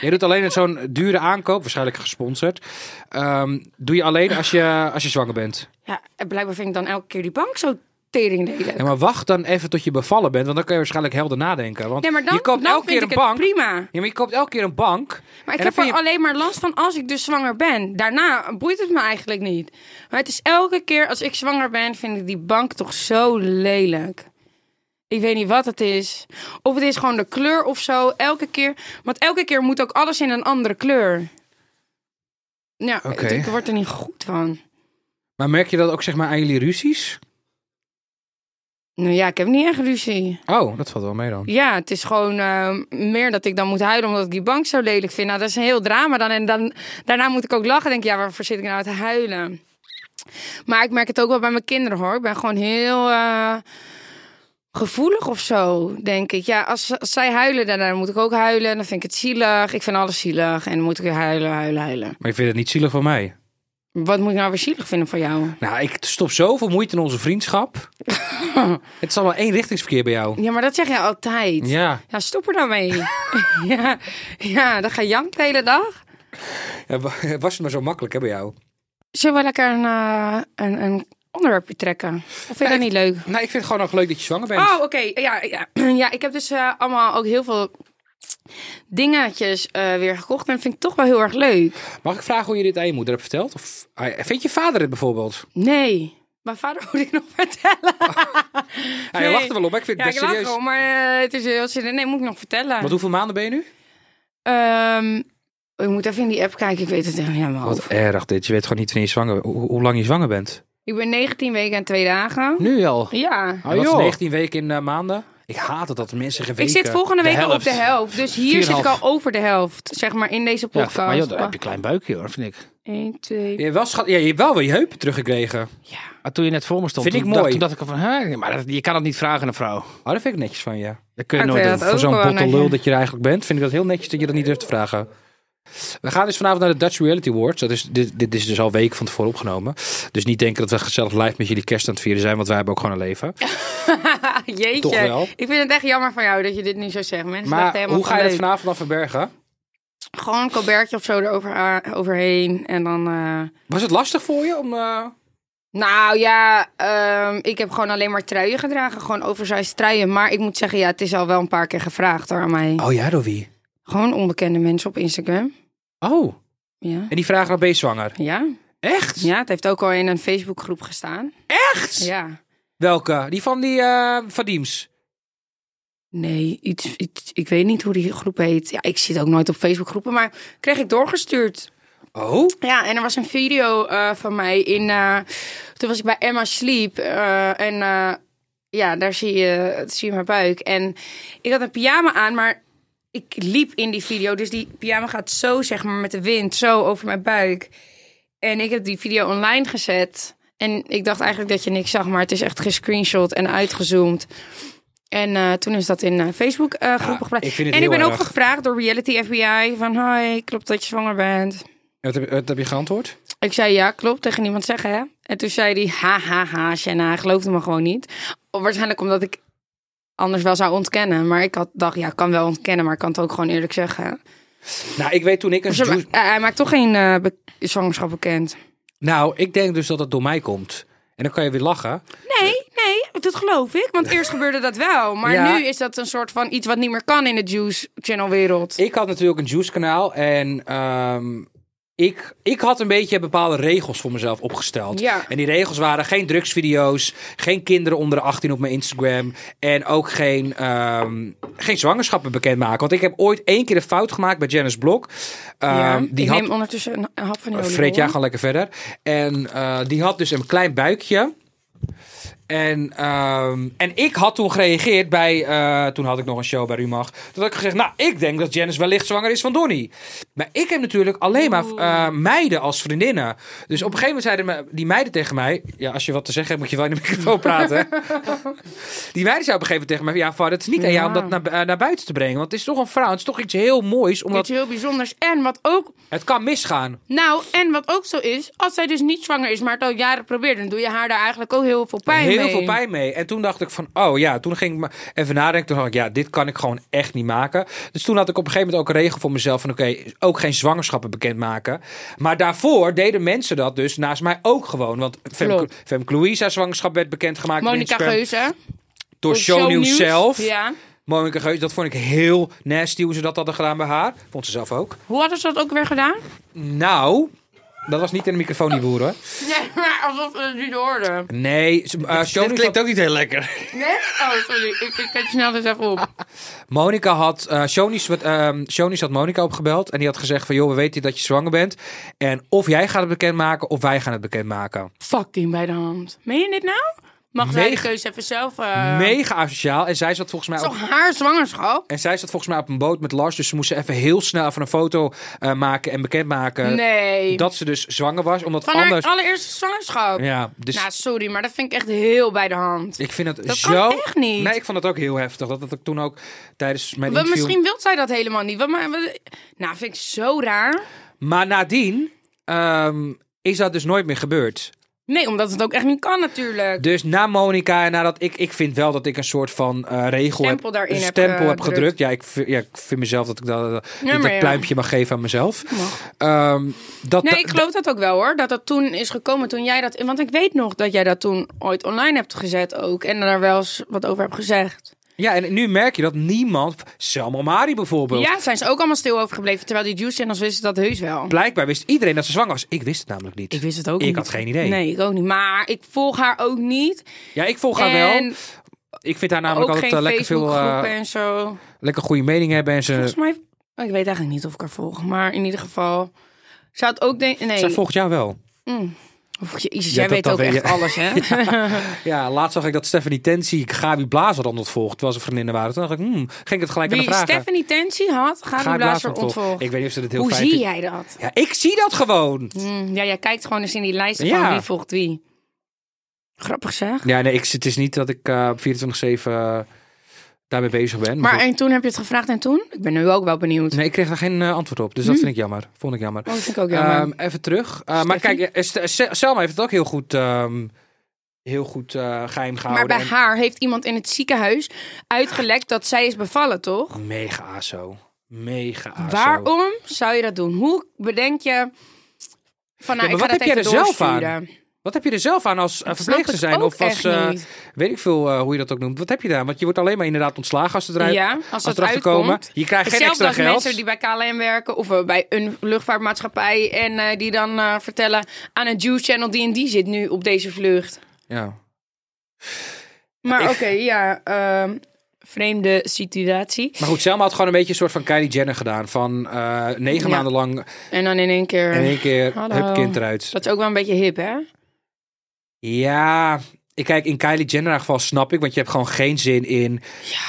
Speaker 2: Je doet alleen zo'n dure aankoop, waarschijnlijk gesponsord. ehm, doe je alleen als je, als je zwanger bent.
Speaker 3: ja, en blijkbaar vind ik dan elke keer die bank zo tering
Speaker 2: Ja, maar wacht dan even tot je bevallen bent, want dan kun je waarschijnlijk helder nadenken. Want
Speaker 3: Nee, maar dan,
Speaker 2: je koopt
Speaker 3: dan
Speaker 2: elke
Speaker 3: vind
Speaker 2: keer een
Speaker 3: ik het
Speaker 2: bank.
Speaker 3: prima.
Speaker 2: Ja, maar je koopt elke keer een bank.
Speaker 3: Maar ik
Speaker 2: En dan
Speaker 3: heb er
Speaker 2: vind je-
Speaker 3: alleen maar last van als ik dus zwanger ben. Daarna boeit het me eigenlijk niet. Maar het is elke keer als ik zwanger ben, vind ik die bank toch zo lelijk. Ik weet niet wat het is. Of het is gewoon de kleur of zo. Elke keer. Want elke keer moet ook alles in een andere kleur. Ja,
Speaker 2: Oké.
Speaker 3: ik word er niet goed van.
Speaker 2: Maar merk je dat ook zeg maar aan jullie ruzies?
Speaker 3: Nou ja, ik heb niet echt ruzie.
Speaker 2: Oh, dat valt wel mee dan.
Speaker 3: Ja, het is gewoon eh, meer dat ik dan moet huilen omdat ik die bank zo lelijk vind. Nou, dat is een heel drama dan. En dan, daarna moet ik ook lachen. Denk, ik, ja, waarvoor zit ik nou te huilen? Maar ik merk het ook wel bij mijn kinderen hoor. Ik ben gewoon heel eh, gevoelig of zo, denk ik. Ja, als, als zij huilen, dan, dan moet ik ook huilen. Dan vind ik het zielig. Ik vind alles zielig. En dan moet ik weer huilen, huilen, huilen.
Speaker 2: Maar je vindt het niet zielig van mij?
Speaker 3: Wat moet ik nou weer zielig vinden van jou?
Speaker 2: Nou, ik stop zoveel moeite in onze vriendschap. het is allemaal één richtingsverkeer bij jou.
Speaker 3: Ja, maar dat zeg je altijd.
Speaker 2: Ja.
Speaker 3: Ja, stop er nou mee. ja, ja, dan ga je janken de hele dag.
Speaker 2: Ja, wa- Was het maar zo makkelijk hè, bij jou?
Speaker 3: Zullen we lekker een, eh, een, een onderwerpje trekken? Of vind je dat niet leuk?
Speaker 2: Nou, ik vind het gewoon nog leuk dat je zwanger bent.
Speaker 3: Oh, oké. Ja, ja. ja, ik heb dus eh, allemaal ook heel veel dingetjes eh, weer gekocht. En dat vind ik toch wel heel erg leuk.
Speaker 2: Mag ik vragen hoe je dit aan je moeder hebt verteld? Of ah, vind je vader het bijvoorbeeld?
Speaker 3: Nee, mijn vader moet ik nog vertellen.
Speaker 2: Hij
Speaker 3: Nee.
Speaker 2: Ah, lacht er wel op, maar ik vind
Speaker 3: Ja,
Speaker 2: het
Speaker 3: ik
Speaker 2: best
Speaker 3: lach
Speaker 2: serieus.
Speaker 3: erom, maar eh, het is heel zin. Nee, moet ik nog vertellen.
Speaker 2: Want hoeveel maanden ben je nu?
Speaker 3: Ehm, ik moet even in die app kijken. Ik weet het echt niet helemaal.
Speaker 2: Oh, Wat erg dit. Je weet gewoon niet wanneer je zwanger, hoe, hoe lang je zwanger bent.
Speaker 3: Ik ben 19 weken en 2 dagen.
Speaker 2: Nu al.
Speaker 3: Ja.
Speaker 2: Oh, dat is
Speaker 5: joh.
Speaker 2: 19 weken in eh, maanden. Ik haat het dat mensen geweten.
Speaker 3: Ik zit volgende week al op de helft. Dus hier zit ik
Speaker 2: Vierhalf.
Speaker 3: al over de helft. Zeg maar in deze
Speaker 5: Ja,
Speaker 3: podcast. Oh,
Speaker 5: maar joh, dan heb je een klein buikje hoor, vind ik.
Speaker 3: 1, 2.
Speaker 2: Je hebt, wel schat, ja, je hebt wel weer je heupen teruggekregen.
Speaker 5: Maar Ah, toen je net voor me stond,
Speaker 2: Vind
Speaker 5: toen,
Speaker 2: ik
Speaker 5: dacht-
Speaker 2: mooi.
Speaker 5: toen dacht ik al van, hè, maar dat- je kan dat niet vragen aan een vrouw.
Speaker 2: Oh, dat vind ik netjes van je.
Speaker 5: Dat kun je
Speaker 3: Ik
Speaker 5: nooit
Speaker 3: weet
Speaker 5: doen.
Speaker 3: dat ook
Speaker 2: Voor zo'n
Speaker 3: wel
Speaker 2: bottle
Speaker 3: netjes.
Speaker 2: lul dat je er eigenlijk bent, vind ik dat heel netjes dat je dat niet durft te vragen. We gaan dus vanavond naar de Dutch Reality Awards. Dat is, dit, dit is dus al weken van tevoren opgenomen. Dus niet denken dat we gezellig live met jullie kerst aan het vieren zijn, want wij hebben ook gewoon een leven.
Speaker 3: Jeetje.
Speaker 2: Toch wel.
Speaker 3: Ik vind het echt jammer van jou dat je dit nu zo zegt. Mensen dachten
Speaker 2: Maar
Speaker 3: helemaal
Speaker 2: hoe ga
Speaker 3: van
Speaker 2: je dat
Speaker 3: leuk.
Speaker 2: vanavond dan verbergen?
Speaker 3: Gewoon een colbertje of zo erover, a- overheen. En dan... eh,
Speaker 2: Was het lastig voor je om... eh,
Speaker 3: Nou ja, ehm, ik heb gewoon alleen maar truien gedragen. Gewoon oversized truien. Maar ik moet zeggen, ja, het is al wel een paar keer gevraagd hoor, aan mij.
Speaker 2: Oh ja, door wie?
Speaker 3: Gewoon onbekende mensen op Instagram.
Speaker 2: Oh,
Speaker 3: Ja.
Speaker 2: en die vragen dan ben je zwanger?
Speaker 3: Ja.
Speaker 2: Echt?
Speaker 3: ja, het heeft ook al in een Facebookgroep gestaan.
Speaker 2: Echt?
Speaker 3: Ja.
Speaker 2: Welke? Die van die eh van Diems?
Speaker 3: Nee, iets, iets, ik weet niet hoe die groep heet. Ja, ik zit ook nooit op Facebookgroepen, maar kreeg ik doorgestuurd.
Speaker 2: Oh?
Speaker 3: Ja, en er was een video eh, van mij in. eh, toen was ik bij Emma Sleep. eh, en eh, ja, daar zie je, zie je mijn buik. En ik had een pyjama aan, maar ik liep in die video. Dus die pyjama gaat zo, zeg maar, met de wind, zo over mijn buik. En ik heb die video online gezet. En ik dacht eigenlijk dat je niks zag, maar het is echt gescreenshot en uitgezoomd. En eh, toen is dat in eh, Facebook eh groepen geplaatst.
Speaker 2: ik vind het
Speaker 3: en ik
Speaker 2: heel
Speaker 3: ben ook
Speaker 2: erg.
Speaker 3: gevraagd door Reality FBI van... Hoi, klopt dat je zwanger bent?
Speaker 2: Wat heb, wat heb je geantwoord?
Speaker 3: Ik zei ja, klopt, tegen niemand zeggen hè. En toen zei hij, ha ha ha, Shanna, hij geloofde me gewoon niet. Waarschijnlijk omdat ik anders wel zou ontkennen. Maar ik had, dacht, ja, ik kan wel ontkennen, maar ik kan het ook gewoon eerlijk zeggen.
Speaker 2: Nou, ik weet toen ik een...
Speaker 3: Dus hij,
Speaker 2: juice-
Speaker 3: hij- hij maakt toch geen eh, be- zwangerschap bekend.
Speaker 2: Nou, ik denk dus dat het door mij komt. En dan kan je weer lachen.
Speaker 3: Nee, nee, dat geloof ik. Want eerst gebeurde dat wel. Maar
Speaker 2: Ja.
Speaker 3: nu is dat een soort van iets wat niet meer kan in de Juice Channel wereld.
Speaker 2: Ik had natuurlijk een juice kanaal en ehm, ik, ik had een beetje bepaalde regels voor mezelf opgesteld.
Speaker 3: Ja.
Speaker 2: En die regels waren geen drugsvideo's, geen kinderen onder de 18 op mijn Instagram en ook geen, ehm, geen zwangerschappen bekendmaken. Want ik heb ooit één keer een fout gemaakt bij Janice Blok. Ehm,
Speaker 3: Ja,
Speaker 2: die
Speaker 3: ik
Speaker 2: had
Speaker 3: neem ondertussen een, een hap van die
Speaker 2: Vreet
Speaker 3: oliebollen.
Speaker 2: jij gewoon lekker verder. En eh, die had dus een klein buikje. En, ehm, en ik had toen gereageerd bij... eh, toen had ik nog een show bij Rumach. Toen had ik gezegd, nou, ik denk dat Janice wellicht zwanger is van Donnie. Maar ik heb natuurlijk alleen maar eh, meiden als vriendinnen. Dus op een gegeven moment zeiden me- die meiden tegen mij... Ja, als je wat te zeggen hebt, moet je wel in de microfoon praten. die meiden zeiden op een gegeven moment tegen mij... Ja, Var, het is niet aan jou om
Speaker 3: Ja.
Speaker 2: dat naar, bu- eh, naar buiten te brengen. Want het is toch een vrouw. Het is toch iets heel moois. Omdat
Speaker 3: Iets heel bijzonders. En wat ook
Speaker 2: het kan misgaan.
Speaker 3: Nou, en wat ook zo is, als zij dus niet zwanger is, maar het al jaren probeert, dan doe je haar daar eigenlijk ook heel veel pijn
Speaker 2: heel
Speaker 3: mee.
Speaker 2: veel pijn mee. En toen dacht ik van, oh ja, toen ging ik me even nadenken. Toen dacht ik, ja, dit kan ik gewoon echt niet maken. Dus toen had ik op een gegeven moment ook een regel voor mezelf van, oké, ook geen zwangerschappen bekendmaken. Maar daarvoor deden mensen dat dus naast mij ook gewoon. Want Fem,
Speaker 3: Klopt.
Speaker 2: Fem Louise, haar zwangerschap werd bekendgemaakt op
Speaker 3: Monica
Speaker 2: Instagram
Speaker 3: Geuze.
Speaker 2: door
Speaker 3: op
Speaker 2: Show News zelf.
Speaker 3: Ja.
Speaker 2: Monica Geus, dat vond ik heel nasty hoe ze dat hadden gedaan bij haar. Vond ze zelf ook.
Speaker 3: Hoe hadden ze dat ook weer gedaan?
Speaker 2: Nou, Dat was niet in de microfoon die boer hoor.
Speaker 3: Nee, maar alsof we het niet hoorden.
Speaker 2: Nee, ze- eh, Show
Speaker 5: Dit klinkt ook niet heel lekker.
Speaker 3: Nee? Oh, sorry. Ik ik het snel dus even op.
Speaker 2: Monica had, eh Shonies, wat, ehm, Shonies had Monica opgebeld en die had gezegd van joh, we weten dat je zwanger bent. En of jij gaat het bekendmaken of wij gaan het bekendmaken.
Speaker 3: Fucking bij de hand. Meen je dit nou? Mag zij de
Speaker 2: Mega-
Speaker 3: keuze even zelf... eh,
Speaker 2: Mega asociaal. En zij zat volgens mij
Speaker 3: Het
Speaker 2: op,
Speaker 3: is toch haar zwangerschap?
Speaker 2: en zij zat volgens mij op een boot met Lars, dus ze moesten even heel snel even een foto eh, maken en bekendmaken
Speaker 3: Nee.
Speaker 2: Eh, dat ze dus zwanger was, omdat
Speaker 3: Van haar
Speaker 2: anders.
Speaker 3: allereerste zwangerschap.
Speaker 2: Ja, dus
Speaker 3: Nou, sorry, maar dat vind ik echt heel bij de hand.
Speaker 2: ik vind het
Speaker 3: dat kan
Speaker 2: zo.
Speaker 3: echt niet.
Speaker 2: Nee, ik vond het ook heel heftig. Dat dat ik toen ook tijdens mijn
Speaker 3: Wat,
Speaker 2: interview.
Speaker 3: misschien wil zij dat helemaal niet. Wat, maar, wat- nou, vind ik zo raar.
Speaker 2: Maar nadien ehm, is dat dus nooit meer gebeurd.
Speaker 3: Nee, omdat het ook echt niet kan natuurlijk.
Speaker 2: Dus na Monica en nadat ik, ik vind wel dat ik een soort van eh, regel
Speaker 3: Stempel
Speaker 2: heb,
Speaker 3: daarin
Speaker 2: een
Speaker 3: heb
Speaker 2: stempel heb
Speaker 3: gedrukt.
Speaker 2: gedrukt. Ja ik, vind- ja, ik vind mezelf dat ik dat, dat, niet
Speaker 3: maar
Speaker 2: dat
Speaker 3: ja.
Speaker 2: pluimpje mag geven aan mezelf.
Speaker 3: Mag.
Speaker 2: Ehm, dat,
Speaker 3: Nee, ik geloof dat ook wel hoor. Dat dat toen is gekomen toen jij dat... Want ik weet nog dat jij dat toen ooit online hebt gezet ook. En daar wel eens wat over hebt gezegd.
Speaker 2: Ja, en nu merk je dat niemand, Selma Mari bijvoorbeeld,
Speaker 3: Ja, zijn ze ook allemaal stil over gebleven. Terwijl die Juice Channels wisten dat heus wel.
Speaker 2: blijkbaar wist iedereen dat ze zwanger was. Ik wist het namelijk niet.
Speaker 3: Ik wist het ook
Speaker 2: Ik
Speaker 3: niet.
Speaker 2: had geen idee.
Speaker 3: Nee, ik ook niet. Maar ik volg haar ook niet.
Speaker 2: Ja, ik volg haar
Speaker 3: en
Speaker 2: wel. Ik vind haar namelijk
Speaker 3: ook
Speaker 2: altijd
Speaker 3: geen
Speaker 2: eh, lekker veel,
Speaker 3: Facebookgroepen
Speaker 2: eh,
Speaker 3: en zo.
Speaker 2: lekker goede meningen hebben en ze...
Speaker 3: Volgens mij... oh, Ik weet eigenlijk niet of ik haar volg. Maar in ieder geval... Zou het ook denken... Nee.
Speaker 2: Zij volgt jou wel.
Speaker 3: Oef, jezus,
Speaker 2: Ja,
Speaker 3: jij
Speaker 2: dat-
Speaker 3: weet
Speaker 2: dat
Speaker 3: ook
Speaker 2: weet
Speaker 3: echt
Speaker 2: je.
Speaker 3: alles, hè?
Speaker 2: Ja, laatst zag ik dat Stephanie Tensi Gabi Blazer dan volgt, terwijl ze vriendinnen waren. Toen dacht ik, hmm, ging ik het gelijk aan
Speaker 3: Wie
Speaker 2: de vragen.
Speaker 3: Stephanie Tensie had, gaat die
Speaker 2: Gabi
Speaker 3: blazer
Speaker 2: ontvolgt.
Speaker 3: ontvolgen.
Speaker 2: Ik weet niet of ze dat heel
Speaker 3: Hoe
Speaker 2: fijn
Speaker 3: zie
Speaker 2: vindt.
Speaker 3: jij dat?
Speaker 2: Ja, ik zie dat gewoon.
Speaker 3: Hm, ja, jij kijkt gewoon eens in die lijsten
Speaker 2: Ja.
Speaker 3: van wie volgt wie. Grappig zeg.
Speaker 2: Ja, nee, ik, het is niet dat ik eh, 24-7 eh, daarmee bezig ben.
Speaker 3: Maar
Speaker 2: goed.
Speaker 3: en toen heb je het gevraagd en toen? Ik ben nu ook wel benieuwd.
Speaker 2: Nee, ik kreeg daar geen eh, antwoord op. Dus dat vind ik jammer. Vond ik jammer.
Speaker 3: Oh, dat vind ik Hm. ook jammer.
Speaker 2: Ehm, even terug. Eh, maar
Speaker 3: Steffi?
Speaker 2: kijk, eh, Ste- Se- Selma heeft het ook heel goed, ehm, heel goed eh, geheim
Speaker 3: maar
Speaker 2: gehouden.
Speaker 3: bij
Speaker 2: en-
Speaker 3: haar heeft iemand in het ziekenhuis uitgelekt dat zij is bevallen, toch?
Speaker 2: Oh, Mega aso. Mega aso.
Speaker 3: Waarom zou je dat doen? Hoe bedenk je van nou,
Speaker 2: Ja, maar
Speaker 3: ik ga
Speaker 2: wat
Speaker 3: dat
Speaker 2: heb jij
Speaker 3: even
Speaker 2: er zelf aan?
Speaker 3: doorsturen?
Speaker 2: Wat heb je er zelf aan als eh,
Speaker 3: Dat snap
Speaker 2: verpleegster
Speaker 3: ik
Speaker 2: zijn?
Speaker 3: ook
Speaker 2: Of als,
Speaker 3: echt
Speaker 2: eh,
Speaker 3: niet.
Speaker 2: weet ik veel eh, hoe je dat ook noemt. Wat heb je daar? Want je wordt alleen maar inderdaad ontslagen als ze eruit
Speaker 3: Ja, als dat
Speaker 2: erachter komen.
Speaker 3: uitkomt.
Speaker 2: Je krijgt geen
Speaker 3: Hetzelfde
Speaker 2: extra
Speaker 3: als
Speaker 2: geld.
Speaker 3: mensen die bij KLM werken of eh, bij een luchtvaartmaatschappij. En eh, die dan eh, vertellen aan een Juice Channel die en die zit nu op deze vlucht.
Speaker 2: Ja.
Speaker 3: Maar
Speaker 2: Ik-
Speaker 3: oké, ja, ehm, vreemde situatie.
Speaker 2: Maar goed, Selma had gewoon een beetje een soort van Kylie Jenner gedaan. Van eh, negen
Speaker 3: Ja.
Speaker 2: maanden lang
Speaker 3: En dan in één keer...
Speaker 2: in één keer
Speaker 3: Hallo.
Speaker 2: het kind eruit.
Speaker 3: Dat is ook wel een beetje hip, hè?
Speaker 2: Ja, ik kijk, in Kylie Jenner haar geval snap ik. Want je hebt gewoon geen zin in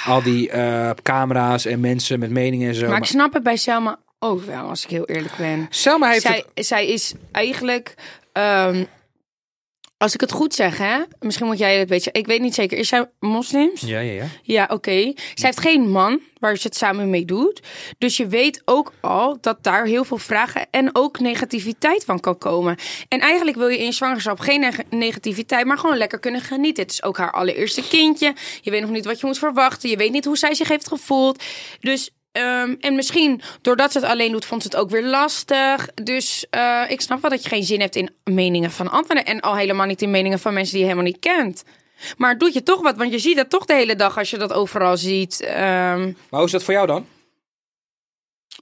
Speaker 2: al die eh, camera's en mensen met meningen en zo.
Speaker 3: maar ik
Speaker 2: Maar
Speaker 3: snap het bij Selma ook wel, als ik heel eerlijk ben.
Speaker 2: Selma heeft
Speaker 3: Zij,
Speaker 2: het...
Speaker 3: zij is eigenlijk... ehm, als ik het goed zeg, hè? Misschien moet jij het weten. Ik weet niet zeker. Is zij moslims?
Speaker 2: Ja, ja, ja.
Speaker 3: Ja, oké. Zij heeft geen man waar ze het samen mee doet. Dus je weet ook al dat daar heel veel vragen en ook negativiteit van kan komen. En eigenlijk wil je in je zwangerschap geen neg- negativiteit, maar gewoon lekker kunnen genieten. Het is ook haar allereerste kindje. Je weet nog niet wat je moet verwachten. Je weet niet hoe zij zich heeft gevoeld. Dus. ehm, en misschien doordat ze het alleen doet, vond ze het ook weer lastig. Dus eh, ik snap wel dat je geen zin hebt in meningen van anderen. En al helemaal niet in meningen van mensen die je helemaal niet kent. Maar het doet je toch wat, want je ziet dat toch de hele dag als je dat overal ziet. Ehm,
Speaker 2: Maar hoe is dat voor jou dan?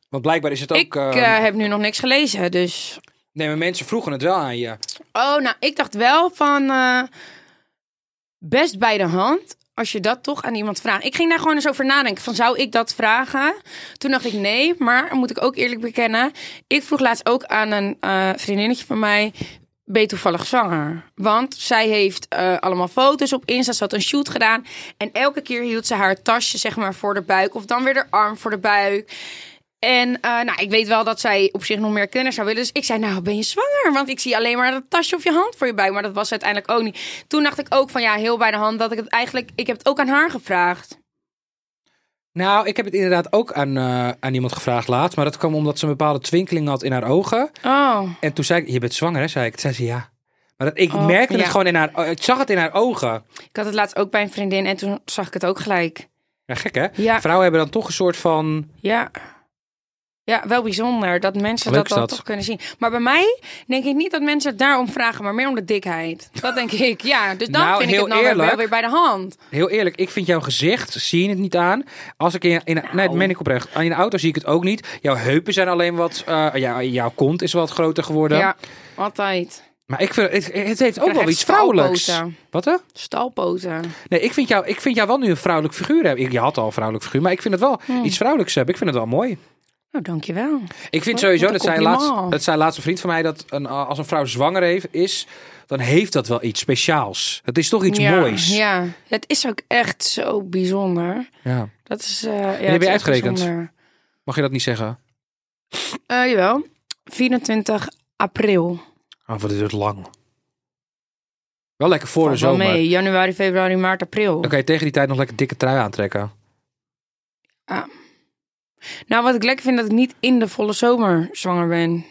Speaker 2: Want blijkbaar is het ook...
Speaker 3: ik
Speaker 2: eh,
Speaker 3: eh, heb nu nog niks gelezen, dus.
Speaker 2: Nee, maar mensen vroegen het wel aan je.
Speaker 3: Oh, nou, ik dacht wel van. eh, best bij de hand. Als je dat toch aan iemand vraagt. Ik ging daar gewoon eens over nadenken. Van zou ik dat vragen? Toen dacht ik nee. Maar moet ik ook eerlijk bekennen. Ik vroeg laatst ook aan een eh, vriendinnetje van mij. Ben je toevallig zwanger? Want zij heeft eh, allemaal foto's op Insta. Ze had een shoot gedaan. En elke keer hield ze haar tasje zeg maar voor de buik. Of dan weer de arm voor de buik. En eh, nou, ik weet wel dat zij op zich nog meer kunnen zou willen. Dus ik zei, nou, ben je zwanger? Want ik zie alleen maar dat tasje of je hand voor je buik. Maar dat was uiteindelijk ook niet. Toen dacht ik ook van, ja, heel bij de hand. Dat ik het eigenlijk... Ik heb het ook aan haar gevraagd.
Speaker 2: Nou, ik heb het inderdaad ook aan, eh, aan iemand gevraagd laatst. Maar dat kwam omdat ze een bepaalde twinkeling had in haar ogen.
Speaker 3: Oh.
Speaker 2: En toen zei ik, je bent zwanger hè, zei ik. Toen zei ze ja. Maar dat, ik
Speaker 3: Oh,
Speaker 2: merkte het
Speaker 3: ja.
Speaker 2: gewoon in haar... Ik zag het in haar ogen.
Speaker 3: Ik had het laatst ook bij een vriendin. En toen zag ik het ook gelijk.
Speaker 2: Ja, gek hè?
Speaker 3: Ja.
Speaker 2: Vrouwen hebben dan toch een soort van...
Speaker 3: Ja. Ja, wel bijzonder dat mensen
Speaker 2: Leuk
Speaker 3: dat
Speaker 2: is
Speaker 3: dan
Speaker 2: dat.
Speaker 3: toch kunnen zien. Maar bij mij denk ik niet dat mensen het daarom vragen, maar meer om de dikheid. Dat denk ik, ja. Dus dan
Speaker 2: Nou,
Speaker 3: vind ik
Speaker 2: heel
Speaker 3: het nou weer-
Speaker 2: eerlijk.
Speaker 3: wel weer bij de hand.
Speaker 2: Heel eerlijk, ik vind jouw gezicht, zie je het niet aan. Als ik in, in
Speaker 3: Nou.
Speaker 2: nee, dat meen ik oprecht. In de auto zie ik het ook niet. Jouw heupen zijn alleen wat, eh, ja, jouw kont is wat groter geworden.
Speaker 3: Ja, altijd.
Speaker 2: Maar ik vind, het, het heeft ook
Speaker 3: krijg
Speaker 2: wel
Speaker 3: echt
Speaker 2: iets vrouwelijks.
Speaker 3: stalpoten.
Speaker 2: Wat hè?
Speaker 3: Stalpoten.
Speaker 2: Nee, ik vind, jou, ik vind jou wel nu een vrouwelijk figuur hebben. Ik- Je had al een vrouwelijk figuur, maar ik vind het wel
Speaker 3: Hmm.
Speaker 2: iets vrouwelijks hebben. Ik vind het wel mooi.
Speaker 3: Nou, dankjewel.
Speaker 2: Ik vind
Speaker 3: Oh, Wat
Speaker 2: sowieso,
Speaker 3: een
Speaker 2: dat zei,
Speaker 3: compliment.
Speaker 2: laatst, dat zei laatst een vriend van mij, dat een, eh, als een vrouw zwanger heeft, is, dan heeft dat wel iets speciaals. Het is toch iets
Speaker 3: ja,
Speaker 2: moois.
Speaker 3: Ja, het is ook echt zo bijzonder.
Speaker 2: Ja.
Speaker 3: Dat is. eh ja, het
Speaker 2: je
Speaker 3: is echt
Speaker 2: uitgerekend?
Speaker 3: bijzonder.
Speaker 2: Mag je dat niet zeggen?
Speaker 3: Eh, jawel. 24 april.
Speaker 2: Oh, wat is het lang. Wel lekker voor de
Speaker 3: Valt wel
Speaker 2: zomer.
Speaker 3: mee. Januari, februari, maart, april.
Speaker 2: Dan kan je tegen die tijd nog lekker dikke trui aantrekken.
Speaker 3: Ah. Nou, wat ik lekker vind, dat ik niet in de volle zomer zwanger ben.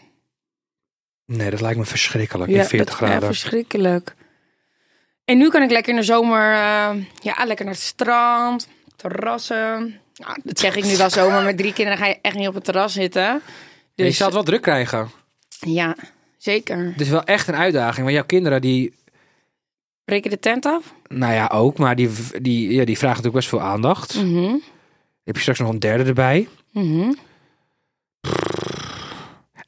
Speaker 2: Nee, dat lijkt me verschrikkelijk.
Speaker 3: Ja,
Speaker 2: in 40
Speaker 3: dat is echt
Speaker 2: graden.
Speaker 3: verschrikkelijk. En nu kan ik lekker in de zomer, eh, ja, lekker naar het strand, terrassen. Nou, dat zeg ik nu wel zomaar met drie kinderen ga je echt niet op het terras zitten.
Speaker 2: Je
Speaker 3: Dus
Speaker 2: zal het wel druk krijgen.
Speaker 3: ja, zeker.
Speaker 2: Het is wel echt een uitdaging. Want jouw kinderen, die,
Speaker 3: Breken de tent af?
Speaker 2: nou ja, ook, maar die, die, ja, die vragen natuurlijk best veel aandacht.
Speaker 3: Mhm.
Speaker 2: Heb je straks nog een derde erbij?
Speaker 3: Mhm.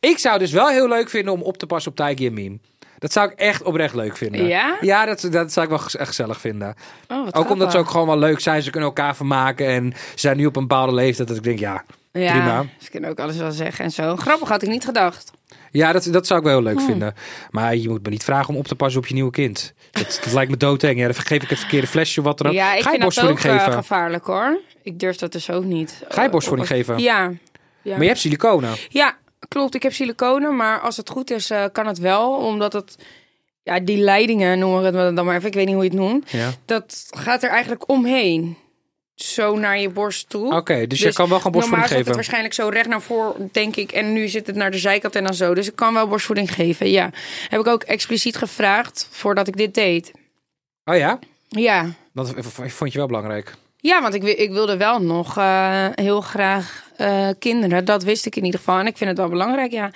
Speaker 2: Ik zou dus wel heel leuk vinden om op te passen op Taiki en Meme. Dat zou ik echt oprecht leuk vinden.
Speaker 3: Ja?
Speaker 2: Ja, dat, dat zou ik wel gez- echt gezellig vinden.
Speaker 3: Oh, wat
Speaker 2: ook omdat ze
Speaker 3: grappig.
Speaker 2: ook gewoon wel leuk zijn. Ze kunnen elkaar vermaken. En ze zijn nu op een bepaalde leeftijd. Dat ik denk, ja,
Speaker 3: Ja,
Speaker 2: prima.
Speaker 3: ze kunnen ook alles wel zeggen en zo. Grappig had ik niet gedacht.
Speaker 2: Ja, dat, dat zou ik wel heel
Speaker 3: Hmm.
Speaker 2: leuk vinden. Maar je moet me niet vragen om op te passen op je nieuwe kind. Dat, dat lijkt me doodeng. Ja, dan geef ik het verkeerde flesje of wat dan ook.
Speaker 3: ja, ik
Speaker 2: Ga je
Speaker 3: vind dat ook
Speaker 2: borstvoeding
Speaker 3: eh,
Speaker 2: geven?
Speaker 3: gevaarlijk hoor. Ik durf dat dus ook niet.
Speaker 2: Ga je borstvoeding
Speaker 3: Eh,
Speaker 2: geven?
Speaker 3: Ja. Ja.
Speaker 2: Maar je hebt siliconen.
Speaker 3: ja, klopt. Ik heb siliconen, maar als het goed is eh, kan het wel. Omdat het, ja, die leidingen noemen we het dan maar even. Ik weet niet hoe je het noemt.
Speaker 2: Ja.
Speaker 3: Dat gaat er eigenlijk omheen. Zo naar je borst toe.
Speaker 2: Oké, dus, je kan wel gewoon borstvoeding
Speaker 3: Normaal zat het
Speaker 2: geven.
Speaker 3: waarschijnlijk zo recht naar voren, denk ik. En nu zit het naar de zijkant en dan zo. Dus ik kan wel borstvoeding geven, ja. Heb ik ook expliciet gevraagd voordat ik dit deed.
Speaker 2: Oh ja?
Speaker 3: Ja,
Speaker 2: Dat v- vond je wel belangrijk.
Speaker 3: ja want ik, wi- ik wilde wel nog eh, heel graag eh, kinderen. Dat wist ik in ieder geval. En ik vind het wel belangrijk, ja.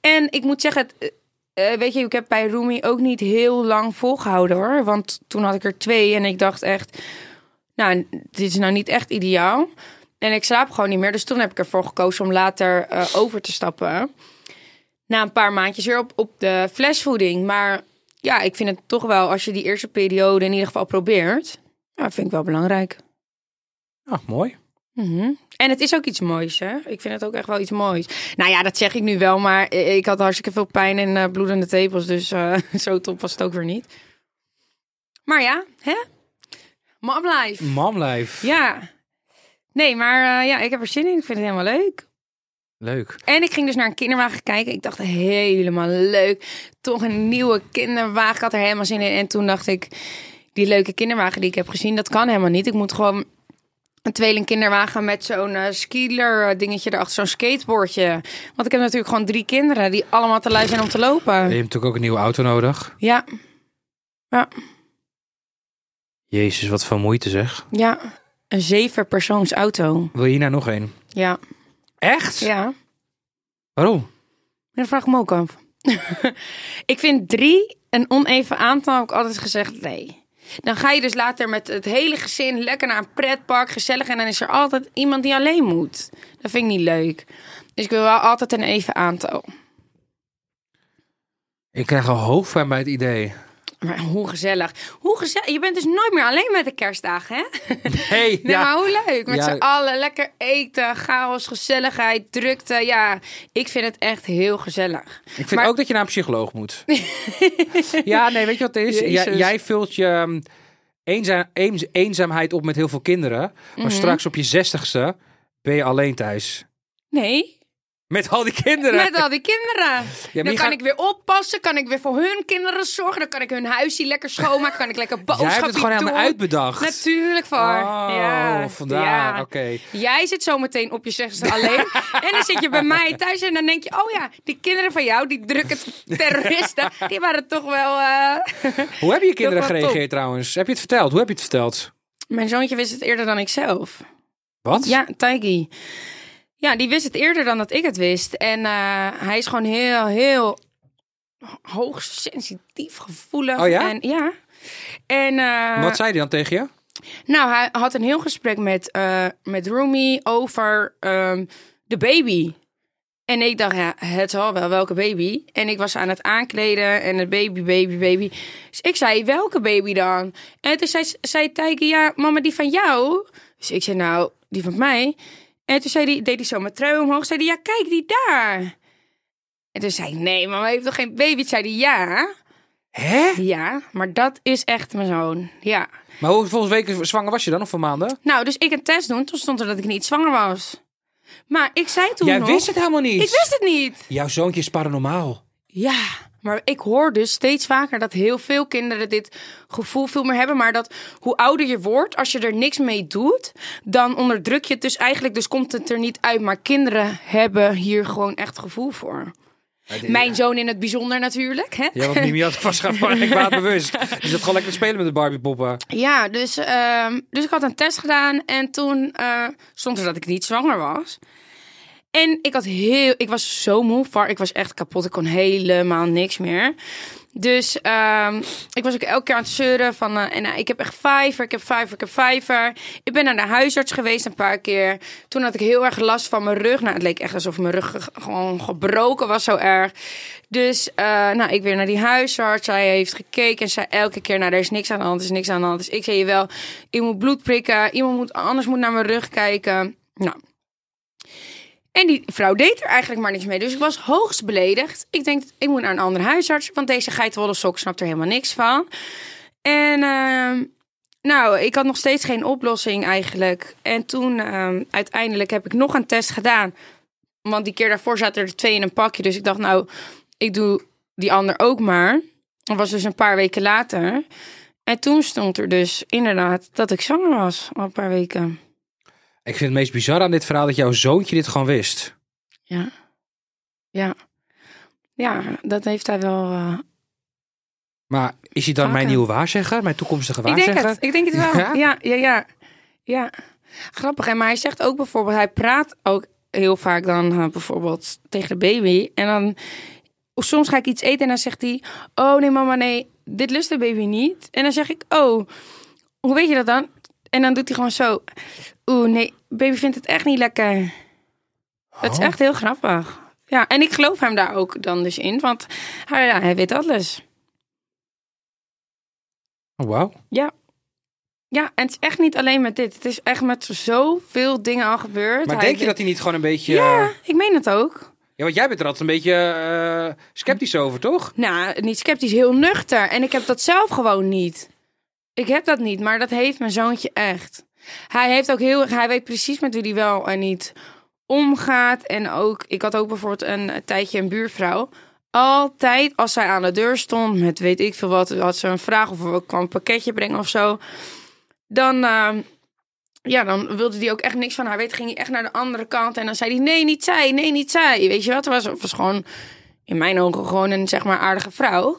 Speaker 3: En ik moet zeggen, het, eh, eh, weet je, ik heb bij Rumi ook niet heel lang volgehouden hoor. Want toen had ik er twee en ik dacht echt, nou, dit is nou niet echt ideaal. En ik slaap gewoon niet meer. Dus toen heb ik ervoor gekozen om later eh, over te stappen. Na een paar maandjes weer op, op de flesvoeding. Maar ja, ik vind het toch wel, als je die eerste periode in ieder geval probeert, ja, vind ik wel belangrijk.
Speaker 2: Ah, mooi.
Speaker 3: Mhm. En het is ook iets moois, hè? Ik vind het ook echt wel iets moois. Nou ja, dat zeg ik nu wel, maar i- ik had hartstikke veel pijn en eh, bloedende tepels. Dus eh, zo top was het ook weer niet. Maar ja, hè? Mom life.
Speaker 2: Mamlijf.
Speaker 3: Ja. Nee, maar eh, ja, ik heb er zin in. Ik vind het helemaal leuk.
Speaker 2: Leuk.
Speaker 3: En ik ging dus naar een kinderwagen kijken. Ik dacht, helemaal leuk. Toch een nieuwe kinderwagen. Ik had er helemaal zin in. En toen dacht ik, die leuke kinderwagen die ik heb gezien, dat kan helemaal niet. Ik moet gewoon een tweeling kinderwagen met zo'n eh skieler eh, dingetje erachter, zo'n skateboardje. Want ik heb natuurlijk gewoon drie kinderen die allemaal te lui zijn om te
Speaker 2: Je
Speaker 3: lopen.
Speaker 2: hebt natuurlijk ook een nieuwe auto nodig.
Speaker 3: Ja,
Speaker 2: Jezus, wat veel moeite zeg.
Speaker 3: ja. Een zevenpersoonsauto.
Speaker 2: Wil je hierna nog een?
Speaker 3: Ja,
Speaker 2: Echt?
Speaker 3: ja.
Speaker 2: Waarom?
Speaker 3: Dat vraag ik me ook af. ik vind drie een oneven aantal, heb ik altijd gezegd, nee. Dan ga je dus later met het hele gezin lekker naar een pretpark, gezellig. En dan is er altijd iemand die alleen moet. Dat vind ik niet leuk. Dus ik wil wel altijd een even aantal.
Speaker 2: Ik krijg al hoofdpijn bij het idee.
Speaker 3: Maar hoe gezellig. Hoe gezellig. Je bent dus nooit meer alleen met de kerstdagen, hè?
Speaker 2: hey,
Speaker 3: Nee, maar hoe leuk. Met
Speaker 2: Ja.
Speaker 3: z'n allen lekker eten, chaos, gezelligheid, drukte. Ja, ik vind het echt heel gezellig.
Speaker 2: Ik vind
Speaker 3: maar-
Speaker 2: ook dat je naar een psycholoog moet. ja, nee, weet je wat het is?
Speaker 3: Jezus.
Speaker 2: Jij, jij vult je ehm, eenza- eens- eenzaamheid op met heel veel kinderen. Maar
Speaker 3: Mhm.
Speaker 2: straks op je zestigste ben je alleen thuis.
Speaker 3: Nee,
Speaker 2: Met al die kinderen.
Speaker 3: Met al die kinderen.
Speaker 2: je
Speaker 3: dan kan
Speaker 2: gaat-
Speaker 3: ik weer oppassen, kan ik weer voor hun kinderen zorgen, dan kan ik hun huisje lekker schoonmaken, kan ik lekker
Speaker 2: Jij
Speaker 3: boodschappen
Speaker 2: hebt het gewoon
Speaker 3: doen.
Speaker 2: helemaal uitbedacht.
Speaker 3: Natuurlijk voor.
Speaker 2: Oh,
Speaker 3: ja.
Speaker 2: vandaar.
Speaker 3: ja.
Speaker 2: Oké.
Speaker 3: Jij zit zo meteen op je zesde alleen. en dan zit je bij mij thuis en dan denk je... oh ja, die kinderen van jou, die drukke terroristen... die waren toch wel... eh,
Speaker 2: Hoe hebben je kinderen
Speaker 3: Dat was top.
Speaker 2: gereageerd trouwens? Heb je het verteld? Hoe heb je het verteld?
Speaker 3: Mijn zoontje wist het eerder dan ik zelf.
Speaker 2: Wat?
Speaker 3: Ja, Taiki. Ja, die wist het eerder dan dat ik het wist. En eh, hij is gewoon heel, heel hoogsensitief, gevoelig.
Speaker 2: Oh ja?
Speaker 3: En, ja. En, eh,
Speaker 2: Wat zei hij dan tegen je?
Speaker 3: Nou, hij had een heel gesprek met, eh met Rumi over ehm, de baby. En ik dacht, ja, het zal wel, welke baby? En ik was aan het aankleden en het baby, baby, baby. Dus ik zei, welke baby dan? En toen zei, zei Tijke, ja, mama, die van jou. Dus ik zei, nou, die van mij. En toen zei die, deed hij zo mijn trui omhoog. Zei hij, ja, kijk, die daar. En toen zei ik, nee, mama heeft toch geen baby? Toen zei hij, ja.
Speaker 2: Hè?
Speaker 3: Ja, maar dat is echt mijn zoon. Ja.
Speaker 2: Maar hoe, hoeveel weken zwanger was je dan? Of voor maanden?
Speaker 3: Nou, dus ik een test doen. Toen stond er dat ik niet zwanger was. Maar ik zei toen
Speaker 2: Jij
Speaker 3: nog...
Speaker 2: wist het helemaal niet.
Speaker 3: Ik wist het niet.
Speaker 2: Jouw zoontje is paranormaal.
Speaker 3: Ja, maar ik hoor dus steeds vaker dat heel veel kinderen dit gevoel veel meer hebben. Maar dat hoe ouder je wordt, als je er niks mee doet, dan onderdruk je het. Dus eigenlijk dus komt het er niet uit. Maar kinderen hebben hier gewoon echt gevoel voor. Mijn zoon in het bijzonder natuurlijk. Hè?
Speaker 2: Ja, want Mimi had was kwaad bewust. Die zat gewoon lekker te spelen met de Barbie poppen.
Speaker 3: Ja, dus, ehm, dus ik had een test gedaan en toen eh, stond er dat ik niet zwanger was. En ik had heel, ik was zo moe, var- ik was echt kapot, ik kon helemaal niks meer. Dus ehm, ik was ook elke keer aan het zeuren van, eh, en, eh, ik heb echt vijver, ik heb vijver, ik heb vijver. Ik ben naar de huisarts geweest een paar keer. Toen had ik heel erg last van mijn rug. Nou, het leek echt alsof mijn rug ge- gewoon gebroken was, zo erg. Dus eh, nou, ik weer naar die huisarts. Zij heeft gekeken en zei elke keer, nou, er is niks aan de hand, er is niks aan de hand. Dus ik zei, wel, ik moet bloed prikken, iemand moet, anders moet naar mijn rug kijken. Nou, en die vrouw deed er eigenlijk maar niks mee. Dus ik was hoogst beledigd. Ik denk, ik moet naar een andere huisarts. Want deze geitenwolle sok snapt er helemaal niks van. En ehm, nou, ik had nog steeds geen oplossing eigenlijk. En toen ehm, uiteindelijk heb ik nog een test gedaan. Want die keer daarvoor zaten er twee in een pakje. Dus ik dacht, nou, ik doe die ander ook maar. Dat was dus een paar weken later. En toen stond er dus inderdaad dat ik zwanger was. Al een paar weken.
Speaker 2: Ik vind het meest bizar aan dit verhaal dat jouw zoontje dit gewoon wist.
Speaker 3: Ja. Ja. Ja, dat heeft hij wel. eh,
Speaker 2: Maar is hij dan
Speaker 3: Vaker.
Speaker 2: mijn nieuwe waarzegger? Mijn toekomstige
Speaker 3: Ik denk
Speaker 2: waarzegger?
Speaker 3: het. Ik denk het wel.
Speaker 2: Ja?
Speaker 3: Ja, ja, ja. ja. Grappig. En maar hij zegt ook bijvoorbeeld, hij praat ook heel vaak dan eh, bijvoorbeeld tegen de baby. En dan soms ga ik iets eten en dan zegt hij, oh nee mama, nee, dit lust de baby niet. En dan zeg ik, oh, hoe weet je dat dan? En dan doet hij gewoon zo, oeh nee, baby vindt het echt niet lekker. Dat is echt heel grappig. Ja, en ik geloof hem daar ook dan dus in, want hij, ja, hij weet alles.
Speaker 2: Oh, wauw.
Speaker 3: Ja. Ja, en het is echt niet alleen met dit. Het is echt met zoveel dingen al gebeurd.
Speaker 2: Maar
Speaker 3: Hij-
Speaker 2: denk je dat hij eh, niet gewoon een beetje...
Speaker 3: Ja, ik meen het ook.
Speaker 2: Ja, want jij bent er altijd een beetje eh, sceptisch over, toch?
Speaker 3: Nou, niet sceptisch, heel nuchter. En ik heb dat zelf gewoon niet. Ik heb dat niet, maar dat heeft mijn zoontje echt. Hij heeft ook heel erg, hij weet precies met wie hij wel en niet omgaat. En ook, ik had ook bijvoorbeeld een, eh, tijdje een buurvrouw. Altijd als zij aan de deur stond met weet ik veel wat, had ze een vraag of er kwam een pakketje brengen of zo. Dan, eh, ja, dan wilde hij ook echt niks van haar weten. Ging hij echt naar de andere kant en dan zei hij: Nee, niet zij, nee, niet zij. Weet je wat? Het was, het was gewoon in mijn ogen gewoon een zeg maar aardige vrouw.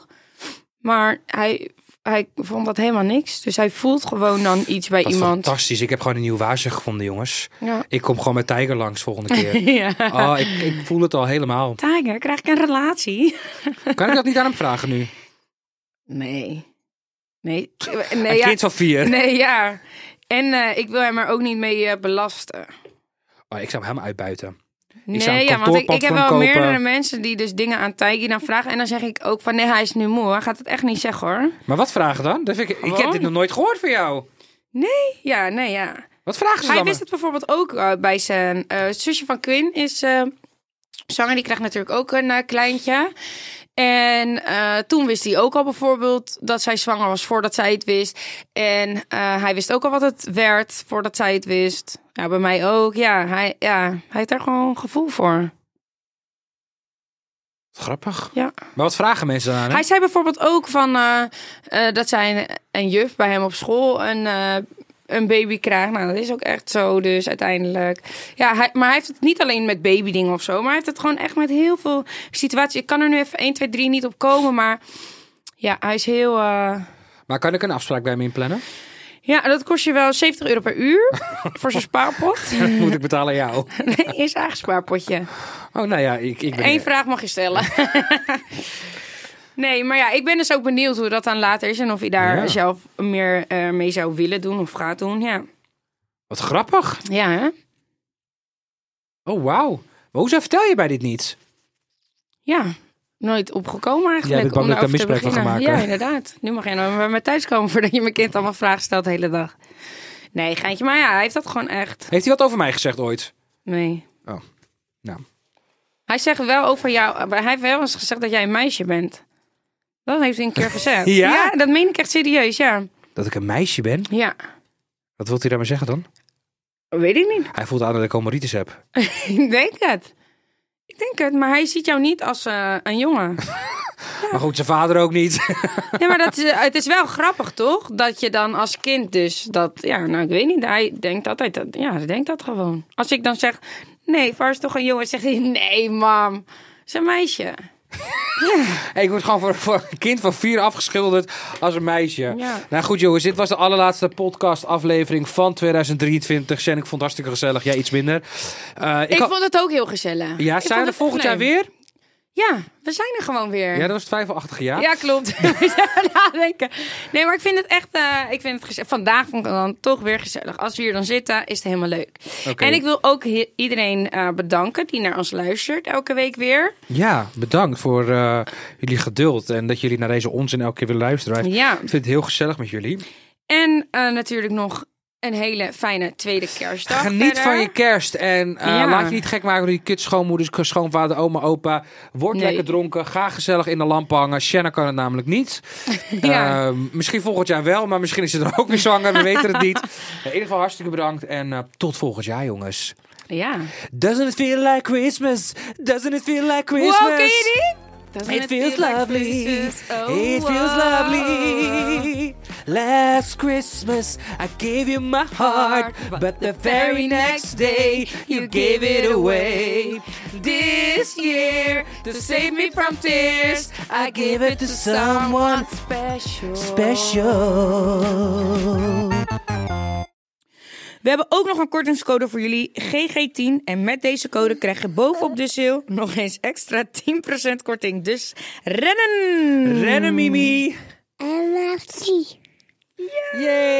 Speaker 3: Maar hij, hij vond dat helemaal niks. Dus hij voelt gewoon dan iets bij
Speaker 2: Wat
Speaker 3: iemand.
Speaker 2: fantastisch. Ik heb gewoon een nieuwe waarzegger gevonden, jongens.
Speaker 3: Ja.
Speaker 2: Ik kom gewoon met Tiger langs volgende keer.
Speaker 3: ja.
Speaker 2: Oh, ik, ik voel het al helemaal.
Speaker 3: Tiger, krijg ik een relatie?
Speaker 2: Kan ik dat niet aan hem vragen nu?
Speaker 3: Nee. Nee. eh, Nee,
Speaker 2: Een
Speaker 3: ja.
Speaker 2: kind van vier.
Speaker 3: Nee, ja. En eh, ik wil hem er ook niet mee eh, belasten.
Speaker 2: Oh, ik zou hem helemaal uitbuiten.
Speaker 3: Nee,
Speaker 2: zou een
Speaker 3: ja, want ik,
Speaker 2: kantoorpand
Speaker 3: ik heb
Speaker 2: voor hem
Speaker 3: wel
Speaker 2: kopen.
Speaker 3: meerdere mensen die dus dingen aan Tijgi dan vragen. En dan zeg ik ook van, nee, hij is nu moe. Hij gaat het echt niet zeggen, hoor.
Speaker 2: Maar wat vragen dan? Dat vind ik, ik heb
Speaker 3: Gewoon.
Speaker 2: dit nog nooit gehoord van jou.
Speaker 3: Ja, nee, ja.
Speaker 2: Wat vragen ze
Speaker 3: Hij
Speaker 2: dan?
Speaker 3: wist het bijvoorbeeld ook eh, bij zijn eh, zusje van Quinn is eh, zanger. Die krijgt natuurlijk ook een eh, kleintje. En eh, toen wist hij ook al bijvoorbeeld dat zij zwanger was voordat zij het wist. En eh, hij wist ook al wat het werd voordat zij het wist. Ja, bij mij ook. Ja, hij, ja, hij heeft daar gewoon gevoel voor.
Speaker 2: Grappig.
Speaker 3: Ja.
Speaker 2: Maar wat vragen mensen dan aan hem?
Speaker 3: Hij zei bijvoorbeeld ook van eh, eh, dat zij een, een juf bij hem op school een, eh, een baby krijgt. Nou, dat is ook echt zo dus uiteindelijk. Ja, hij, maar hij heeft het niet alleen met babydingen of zo. Maar hij heeft het gewoon echt met heel veel situaties. Ik kan er nu even 1, 2, 3 niet op komen. Maar ja, hij is heel... eh,
Speaker 2: Maar kan ik een afspraak bij hem inplannen?
Speaker 3: Ja, dat kost je wel 70 euro per uur voor zo'n spaarpot.
Speaker 2: Moet ik betalen aan jou?
Speaker 3: Nee, is eigen spaarpotje.
Speaker 2: Oh, nou ja, ik, ik ben...
Speaker 3: Eén vraag mag je stellen. Nee, maar ja, ik ben dus ook benieuwd hoe dat dan later is en of je daar
Speaker 2: Ja.
Speaker 3: zelf meer eh, mee zou willen doen of gaat doen. Ja,
Speaker 2: Wat grappig.
Speaker 3: ja hè?
Speaker 2: Oh, wauw. Maar hoezo vertel je bij dit niet?
Speaker 3: Ja, nooit opgekomen eigenlijk.
Speaker 2: bent bang
Speaker 3: om
Speaker 2: dat ik
Speaker 3: daarover
Speaker 2: daar misbruik
Speaker 3: te
Speaker 2: van ga
Speaker 3: beginnen.
Speaker 2: maken.
Speaker 3: Ja, inderdaad. Nu mag jij nou bij mij thuiskomen voordat je mijn kind allemaal vragen stelt de hele dag. Nee, geintje. Maar ja, hij heeft dat gewoon echt.
Speaker 2: Heeft hij wat over mij gezegd ooit?
Speaker 3: Nee.
Speaker 2: Oh, nou.
Speaker 3: Hij zegt wel over jou, maar hij heeft wel eens gezegd dat jij een meisje bent. Dat heeft hij een keer gezegd.
Speaker 2: Ja?
Speaker 3: dat meen ik echt serieus, ja.
Speaker 2: Dat ik een meisje ben?
Speaker 3: Ja,
Speaker 2: Wat wilt hij daarmee zeggen dan?
Speaker 3: weet ik niet.
Speaker 2: Hij voelt aan dat ik comoritis heb.
Speaker 3: ik denk het. Ik denk het, maar hij ziet jou niet als eh, een jongen.
Speaker 2: Maar goed, zijn vader ook niet.
Speaker 3: Nee, maar dat is, eh, het is wel grappig, toch? Dat je dan als kind dus dat... Ja, nou, ik weet niet. Hij denkt altijd dat... Ja, hij denkt dat gewoon. Als ik dan zeg... Nee, Var is toch een jongen? Zegt hij... Nee, mam. Het is een meisje.
Speaker 2: ik word gewoon voor, voor een kind van vier afgeschilderd als een meisje.
Speaker 3: Ja.
Speaker 2: Nou goed jongens, dit was de allerlaatste podcast aflevering van 2023. Sjen, ik vond het hartstikke gezellig. Jij iets minder. Eh, ik
Speaker 3: Ik,
Speaker 2: had-
Speaker 3: vond het ook heel gezellig.
Speaker 2: Ja, zijn
Speaker 3: Ik
Speaker 2: we
Speaker 3: vond
Speaker 2: er
Speaker 3: het-
Speaker 2: volgend jaar
Speaker 3: nee.
Speaker 2: weer?
Speaker 3: Ja, we zijn er gewoon weer.
Speaker 2: Ja, dat was het twijfelachtige jaar.
Speaker 3: Ja, klopt. Nadenken. Nee, maar ik vind het echt. eh, ik vind het gezellig. Vandaag vond ik het dan toch weer gezellig. Als we hier dan zitten, is het helemaal leuk.
Speaker 2: Oké.
Speaker 3: En ik wil ook he- iedereen eh, bedanken die naar ons luistert elke week weer.
Speaker 2: Ja, bedankt voor eh, jullie geduld en dat jullie naar deze onzin elke keer willen luisteren.
Speaker 3: Ja.
Speaker 2: Ik vind het heel gezellig met jullie.
Speaker 3: En eh, natuurlijk nog een hele fijne tweede kerstdag.
Speaker 2: Geniet
Speaker 3: verder.
Speaker 2: van je kerst en eh,
Speaker 3: Ja.
Speaker 2: laat je niet gek maken door je kids, schoonmoeders, schoonvader, oma, opa. Word
Speaker 3: Nee.
Speaker 2: lekker dronken, ga gezellig in de lamp hangen. Shanna kan het namelijk niet.
Speaker 3: Ja.
Speaker 2: Eh, misschien volgend jaar wel, maar misschien is ze er ook weer zwanger, we weten het niet. In ieder geval hartstikke bedankt en eh, tot volgend jaar jongens.
Speaker 3: Ja.
Speaker 2: Doesn't it feel like Christmas? Doesn't it feel like Christmas?
Speaker 3: Wow, ken je die?
Speaker 2: It feels lovely.
Speaker 3: Christmas? Oh,
Speaker 2: It feels
Speaker 3: wow.
Speaker 2: lovely. Last Christmas, I gave you my heart, but the very next day, you gave it away.
Speaker 3: This year, to save me from tears, I give it to someone special.
Speaker 2: Special.
Speaker 3: We hebben ook nog een kortingscode voor jullie, GG10. En met deze code krijg je bovenop de sale nog eens extra 10% korting. Dus rennen!
Speaker 2: Rennen, Mimi.
Speaker 4: I love tea.
Speaker 2: Yay.